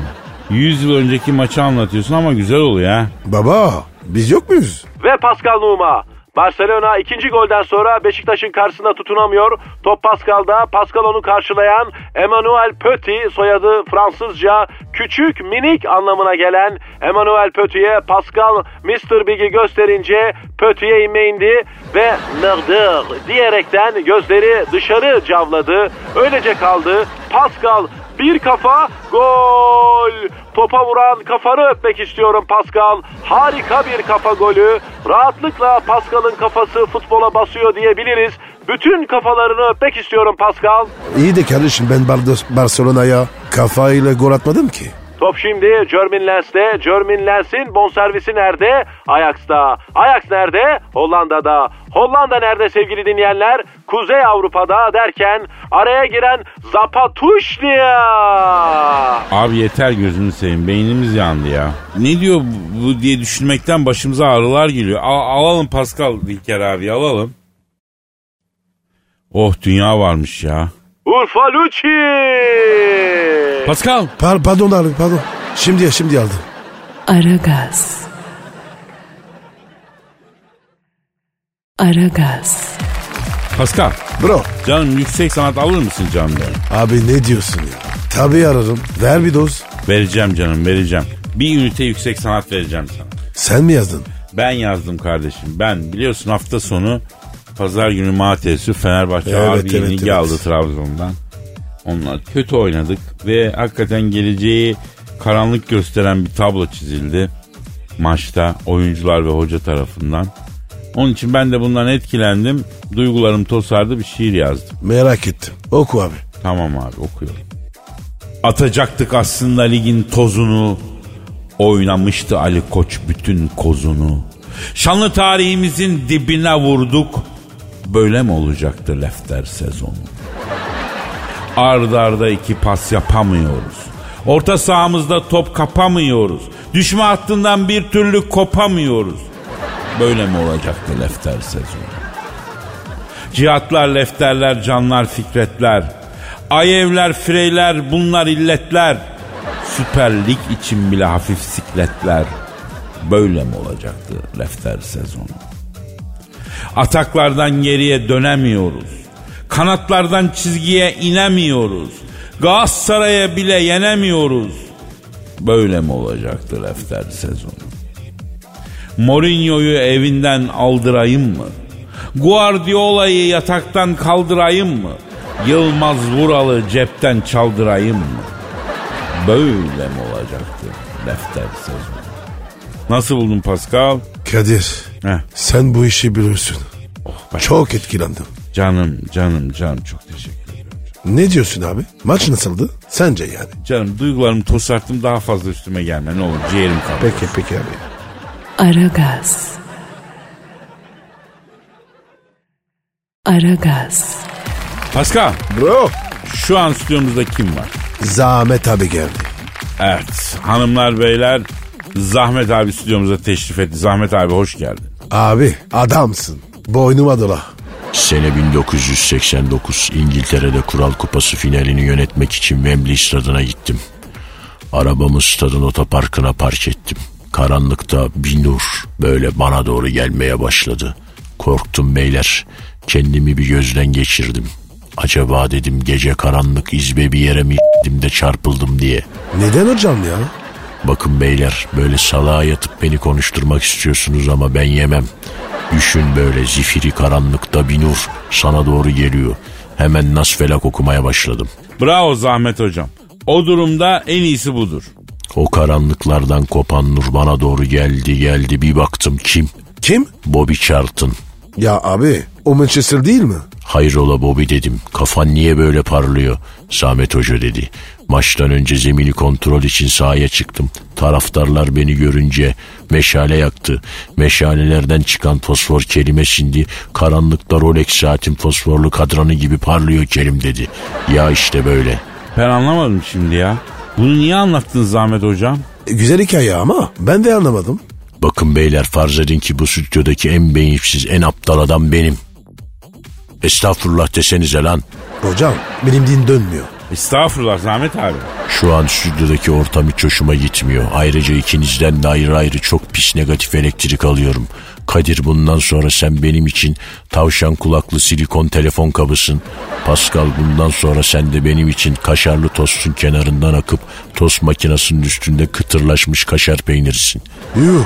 Speaker 2: 100 yıl önceki maçı anlatıyorsun ama güzel oluyor ha.
Speaker 3: Baba biz yok muyuz?
Speaker 4: ve Pascal Numa. Barcelona ikinci golden sonra Beşiktaş'ın karşısında tutunamıyor. Top Pascal'da. Pascal onu karşılayan Emmanuel Petit soyadı Fransızca küçük minik anlamına gelen Emmanuel Petit'e Pascal Mr. Big'i gösterince Petit'e inme indi ve mırdır diyerekten gözleri dışarı cavladı. Öylece kaldı. Pascal bir kafa gol. Topa vuran kafanı öpmek istiyorum Pascal. Harika bir kafa golü. Rahatlıkla Pascal'ın kafası futbola basıyor diyebiliriz. Bütün kafalarını öpmek istiyorum Pascal.
Speaker 3: İyi de kardeşim ben Bardos- Barcelona'ya kafayla gol atmadım ki.
Speaker 4: Top şimdi Jermin Lens'te. Jermin Lens'in bonservisi nerede? Ajax'ta. Ajax nerede? Hollanda'da. Hollanda nerede sevgili dinleyenler? Kuzey Avrupa'da derken araya giren Zapatuşlia.
Speaker 2: Abi yeter gözünü seveyim beynimiz yandı ya. Ne diyor bu- bu diye düşünmekten başımıza ağrılar geliyor. Al- alalım Pascal Dilker abi alalım. Oh dünya varmış ya.
Speaker 4: Urfa Lucci.
Speaker 2: Pascal.
Speaker 3: Par- pardon abi pardon. Şimdi şimdi aldım.
Speaker 1: Aragaz. Aragaz.
Speaker 2: Pascal.
Speaker 3: Bro
Speaker 2: Canım yüksek sanat alır mısın canım benim?
Speaker 3: abi ne diyorsun ya? Tabii ararım. Ver bir doz.
Speaker 2: Vereceğim canım vereceğim. Bir ünite yüksek sanat vereceğim sana.
Speaker 3: Sen mi yazdın?
Speaker 2: Ben yazdım kardeşim. Ben biliyorsun hafta sonu pazar günü maalesef Fenerbahçe
Speaker 3: Evet,
Speaker 2: abi
Speaker 3: evet,
Speaker 2: yenilgi
Speaker 3: evet.
Speaker 2: aldı Trabzon'dan. Onlar kötü oynadık ve hakikaten geleceği karanlık gösteren bir tablo çizildi maçta oyuncular ve hoca tarafından. Onun için ben de bundan etkilendim. Duygularım tosardı bir şiir yazdım.
Speaker 3: Merak ettim. Oku abi.
Speaker 2: Tamam abi okuyorum. Atacaktık aslında ligin tozunu. Oynamıştı Ali Koç bütün kozunu. Şanlı tarihimizin dibine vurduk. Böyle mi olacaktı Lefter sezonu? Arda arda iki pas yapamıyoruz. Orta sahamızda top kapamıyoruz. Düşme hattından bir türlü kopamıyoruz. Böyle mi olacaktı Lefter sezonu? Cihatlar, lefterler, canlar, fikretler. Ayevler, fireyler, bunlar illetler. Süper Lig için bile hafif sikletler. Böyle mi olacaktı lefter sezonu? Ataklardan geriye dönemiyoruz. Kanatlardan çizgiye inemiyoruz. Galatasaray'a bile yenemiyoruz. Böyle mi olacaktı lefter sezonu? Mourinho'yu evinden aldırayım mı? Guardiola'yı yataktan kaldırayım mı? Yılmaz Vural'ı cepten çaldırayım mı? Böyle mi olacaktı defter sezonu? Nasıl buldun Pascal?
Speaker 3: Kadir
Speaker 2: Heh,
Speaker 3: sen bu işi biliyorsun. Çok etkilendim.
Speaker 2: canım canım canım çok teşekkür ederim.
Speaker 3: Ne diyorsun abi? Maç nasıldı? Sence yani?
Speaker 2: Canım duygularımı tosarttım daha fazla üstüme gelme ne olur ciğerim kaldı.
Speaker 3: Peki peki abi.
Speaker 1: Aragaz. Aragaz.
Speaker 2: Pascal
Speaker 3: Bro.
Speaker 2: şu an stüdyomuzda kim var?
Speaker 3: Zahmet abi geldi.
Speaker 2: Evet hanımlar beyler Zahmet abi stüdyomuza teşrif etti. Zahmet abi hoş geldin.
Speaker 3: Abi adamsın. Boynuma dola.
Speaker 5: Sene 1989 İngiltere'de Kural Kupası finalini yönetmek için Wembley stadına gittim. Arabamı stadın otoparkına park ettim. Karanlıkta bir nur böyle bana doğru gelmeye başladı. Korktum beyler. Kendimi bir gözden geçirdim. Acaba dedim gece karanlık izbe bir yere mi gittim de çarpıldım diye.
Speaker 3: Neden hocam ya?
Speaker 5: Bakın beyler böyle salağa yatıp beni konuşturmak istiyorsunuz ama ben yemem. Düşün böyle zifiri karanlıkta bir nur sana doğru geliyor. Hemen nasfelak okumaya başladım.
Speaker 2: Bravo Zahmet hocam. O durumda en iyisi budur.
Speaker 5: O karanlıklardan kopan nur bana doğru geldi geldi bir baktım kim?
Speaker 3: Kim?
Speaker 5: Bobby Charlton.
Speaker 3: Ya abi o Manchester değil mi?
Speaker 5: Hayrola Bobby dedim. Kafan niye böyle parlıyor? Samet Hoca dedi. Maçtan önce zemini kontrol için sahaya çıktım. Taraftarlar beni görünce meşale yaktı. Meşalelerden çıkan fosfor kelime şimdi karanlıkta Rolex saatin fosforlu kadranı gibi parlıyor Kerim dedi. Ya işte böyle.
Speaker 2: Ben anlamadım şimdi ya. Bunu niye anlattın Zahmet hocam?
Speaker 3: E, güzel hikaye ama ben de anlamadım.
Speaker 5: Bakın beyler farz edin ki bu stüdyodaki en beyinsiz en aptal adam benim. Estağfurullah desenize lan.
Speaker 3: Hocam benim din dönmüyor.
Speaker 2: Estağfurullah Zahmet abi.
Speaker 5: Şu an stüdyodaki ortam hiç hoşuma gitmiyor. Ayrıca ikinizden de ayrı ayrı çok pis negatif elektrik alıyorum. Kadir bundan sonra sen benim için tavşan kulaklı silikon telefon kabısın. Pascal bundan sonra sen de benim için kaşarlı tostun kenarından akıp tost makinesinin üstünde kıtırlaşmış kaşar peynirisin.
Speaker 3: Yuh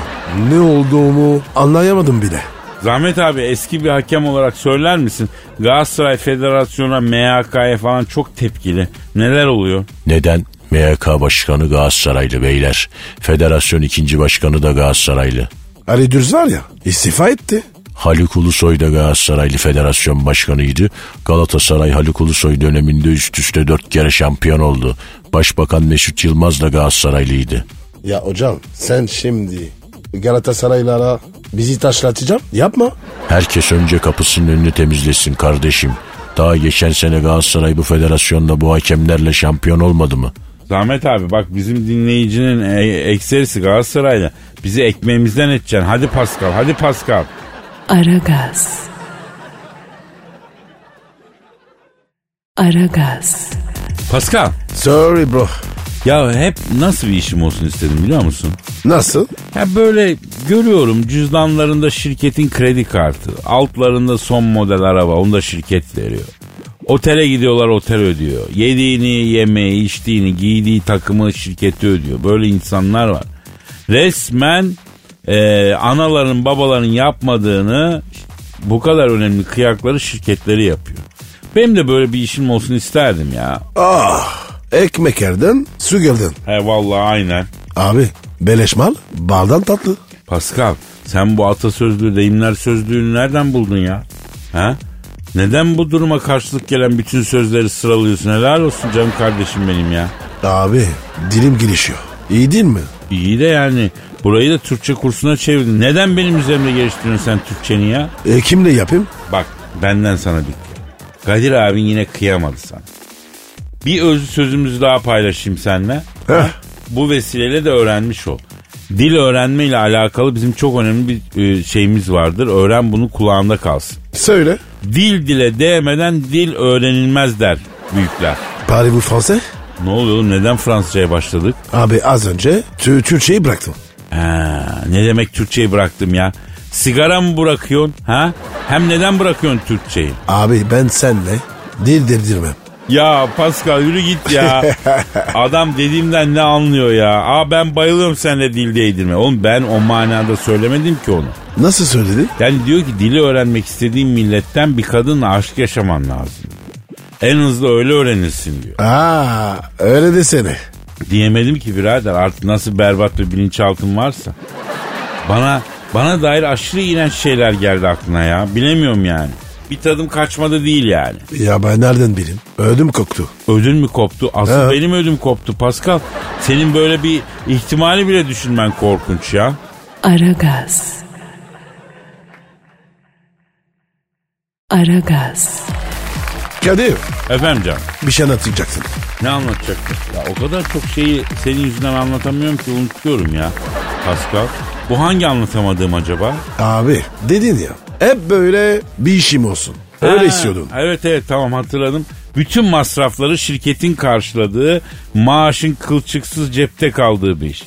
Speaker 3: ne olduğumu anlayamadım bile.
Speaker 2: Zahmet abi eski bir hakem olarak söyler misin? Galatasaray Federasyonu'na MHK'ya falan çok tepkili. Neler oluyor?
Speaker 5: Neden? MYK Başkanı Galatasaraylı beyler. Federasyon ikinci başkanı da Galatasaraylı.
Speaker 3: Ali Dürz var ya istifa etti.
Speaker 5: Haluk Ulusoy da Galatasaraylı Federasyon Başkanı'ydı. Galatasaray Haluk Ulusoy döneminde üst üste dört kere şampiyon oldu. Başbakan Mesut Yılmaz da Galatasaraylıydı.
Speaker 3: Ya hocam sen şimdi Galatasaraylara bizi taşlatacağım. Yapma.
Speaker 5: Herkes önce kapısının önünü temizlesin kardeşim. Daha geçen sene Galatasaray bu federasyonda bu hakemlerle şampiyon olmadı mı?
Speaker 2: Zahmet abi bak bizim dinleyicinin e- ekserisi Galatasaray'la. Bizi ekmeğimizden edeceksin. Hadi Pascal hadi Pascal.
Speaker 1: Aragaz. Aragaz.
Speaker 2: Pascal
Speaker 3: Sorry bro.
Speaker 2: ya hep nasıl bir işim olsun istedim biliyor musun?
Speaker 3: Nasıl?
Speaker 2: Ya böyle Görüyorum cüzdanlarında şirketin kredi kartı. Altlarında son model araba. Onu da şirket veriyor. Otele gidiyorlar otel ödüyor. Yediğini, yemeği, içtiğini, giydiği takımı şirketi ödüyor. Böyle insanlar var. Resmen e, anaların babaların yapmadığını bu kadar önemli kıyakları şirketleri yapıyor. Benim de böyle bir işim olsun isterdim ya.
Speaker 3: Ah ekmek yerden su gelden.
Speaker 2: He vallahi aynen.
Speaker 3: Abi beleş mal baldan tatlı.
Speaker 2: Pascal sen bu atasözlü deyimler sözlüğünü nereden buldun ya? Ha? Neden bu duruma karşılık gelen bütün sözleri sıralıyorsun? Helal olsun canım kardeşim benim ya.
Speaker 3: Abi dilim gelişiyor. İyi değil mi?
Speaker 2: İyi de yani burayı da Türkçe kursuna çevirdin. Neden benim üzerimde geliştiriyorsun sen Türkçeni ya?
Speaker 3: E, kimle yapayım?
Speaker 2: Bak benden sana dikkat. Kadir abin yine kıyamadı sana. Bir özlü sözümüzü daha paylaşayım seninle.
Speaker 3: Heh.
Speaker 2: Bu vesileyle de öğrenmiş ol. Dil öğrenme ile alakalı bizim çok önemli bir e, şeyimiz vardır. Öğren bunu kulağında kalsın.
Speaker 3: Söyle.
Speaker 2: Dil dile değmeden dil öğrenilmez der büyükler.
Speaker 3: Parlez-vous français?
Speaker 2: Ne oluyor oğlum neden Fransızcaya başladık?
Speaker 3: Abi az önce Tür- Türkçeyi bıraktım.
Speaker 2: Ha, ne demek Türkçeyi bıraktım ya? Sigara mı bırakıyorsun? Ha? Hem neden bırakıyorsun Türkçeyi?
Speaker 3: Abi ben senle dil dedirmem.
Speaker 2: Ya Pascal yürü git ya. Adam dediğimden ne anlıyor ya? Aa ben bayılıyorum seninle dil değdirme. Oğlum ben o manada söylemedim ki onu.
Speaker 3: Nasıl söyledin?
Speaker 2: Yani diyor ki dili öğrenmek istediğin milletten bir kadınla aşk yaşaman lazım. En hızlı öyle öğrenirsin diyor.
Speaker 3: Aa öyle desene.
Speaker 2: Diyemedim ki birader artık nasıl berbat bir bilinçaltın varsa. Bana bana dair aşırı iğrenç şeyler geldi aklına ya. Bilemiyorum yani. Bir tadım kaçmadı değil yani.
Speaker 3: Ya ben nereden bileyim? Ödüm koktu.
Speaker 2: Ödün mü koptu? Asıl
Speaker 3: Evet.
Speaker 2: benim ödüm koptu Pascal. Senin böyle bir ihtimali bile düşünmen korkunç ya.
Speaker 1: Aragaz. Aragaz.
Speaker 3: Kadir
Speaker 2: Efendim canım
Speaker 3: bir şey anlatacaksın.
Speaker 2: ne anlatacaktım? Ya o kadar çok şeyi senin yüzünden anlatamıyorum ki unutuyorum ya Pascal. Bu hangi anlatamadığım acaba?
Speaker 3: Abi dedin ya hep böyle bir işim olsun. Öyle
Speaker 2: Ha,
Speaker 3: istiyordun.
Speaker 2: Evet evet tamam hatırladım. Bütün masrafları şirketin karşıladığı, maaşın kılçıksız cepte kaldığı bir iş.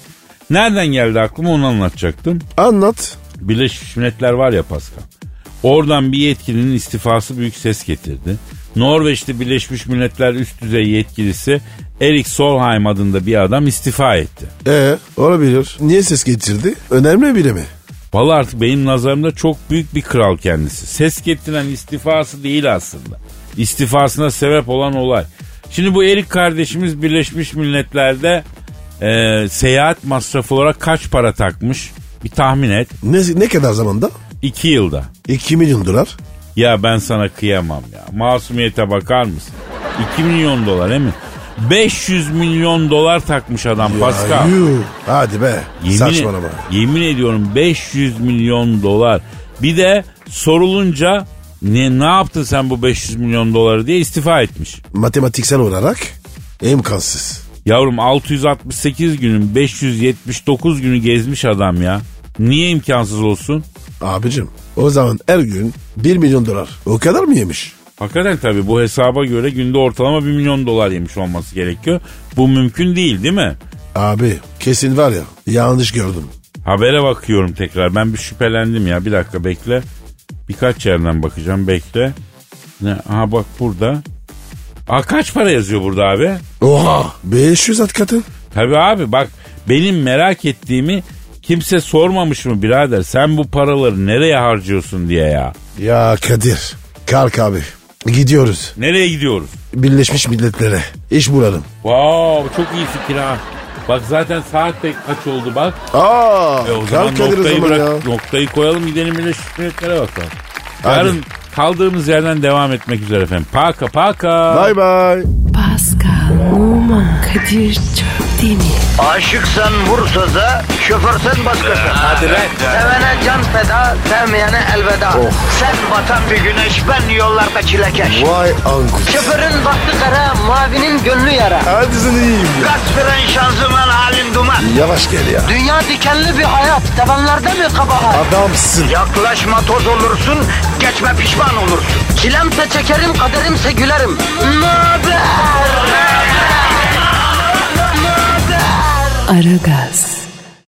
Speaker 2: Nereden geldi aklıma onu anlatacaktım.
Speaker 3: Anlat.
Speaker 2: Birleşmiş Milletler var ya Pascal. Oradan bir yetkilinin istifası büyük ses getirdi. Norveçli Birleşmiş Milletler üst düzey yetkilisi Erik Solheim adında bir adam istifa etti.
Speaker 3: Ee, olabilir. Niye ses getirdi? Önemli biri mi?
Speaker 2: Vallahi artık benim nazarımda çok büyük bir kral kendisi. Ses getiren istifası değil aslında. İstifasına sebep olan olay. Şimdi bu Erik kardeşimiz Birleşmiş Milletler'de e, seyahat masrafı olarak kaç para takmış? Bir tahmin et.
Speaker 3: Ne, ne kadar zamanda?
Speaker 2: 2 yılda.
Speaker 3: 2 milyon dolar.
Speaker 2: Ya ben sana kıyamam ya. Masumiyete bakar mısın? 2 milyon dolar değil mi? 500 milyon dolar takmış adam Pascal.
Speaker 3: yuh. Hadi be.
Speaker 2: Yemin, e-
Speaker 3: Saçmalama.
Speaker 2: yemin ediyorum 500 milyon dolar. Bir de sorulunca ne ne yaptın sen bu 500 milyon doları diye istifa etmiş.
Speaker 3: Matematiksel olarak imkansız.
Speaker 2: Yavrum 668 günün 579 günü gezmiş adam ya. Niye imkansız olsun?
Speaker 3: Abicim o zaman her gün 1 milyon dolar. O kadar mı yemiş?
Speaker 2: Hakikaten tabii bu hesaba göre günde ortalama 1 milyon dolar yemiş olması gerekiyor. Bu mümkün değil değil mi?
Speaker 3: Abi kesin var ya yanlış gördüm.
Speaker 2: Habere bakıyorum tekrar. Ben bir şüphelendim ya. Bir dakika bekle. Birkaç yerden bakacağım. Bekle. Ne? Aha bak burada. Aa kaç para yazıyor burada abi?
Speaker 3: Oha 500 at katı.
Speaker 2: Tabii abi bak benim merak ettiğimi kimse sormamış mı birader? Sen bu paraları nereye harcıyorsun diye ya.
Speaker 3: Ya Kadir kalk abi gidiyoruz
Speaker 2: Nereye gidiyoruz?
Speaker 3: Birleşmiş Milletler'e iş bulalım.
Speaker 2: Vav çok iyi fikir ha. Bak zaten saat de kaç oldu bak.
Speaker 3: Aa
Speaker 2: E o zaman
Speaker 3: kalk Kadir o
Speaker 2: noktayı
Speaker 3: zaman ya.
Speaker 2: bırak, noktayı koyalım gidelim Birleşmiş Milletler'e bakalım. Yarın kaldığımız yerden devam etmek üzere efendim. Paka paka.
Speaker 3: Bay bay.
Speaker 1: Pascal, Oman, Kadir çok değil mi?
Speaker 6: Aşıksan vursa da, şoförsen başkasın. Hadi Sevene can feda, sevmeyene elveda. Sen batan bir güneş, ben yollarda çilekeş.
Speaker 3: Vay anku.
Speaker 6: Şoförün baktı kara, mavinin gönlü yara.
Speaker 3: Hadi sen iyiyim ya.
Speaker 6: Kasperen şanzıman halin duman.
Speaker 3: Yavaş gel ya.
Speaker 6: Dünya dikenli bir hayat, sevenlerde mi kabahar?
Speaker 3: Adamsın.
Speaker 6: Yaklaşma toz olursun, geçme pişman olursun. Çilemse çekerim, kaderimse gülerim. Möber!
Speaker 1: Aragaz.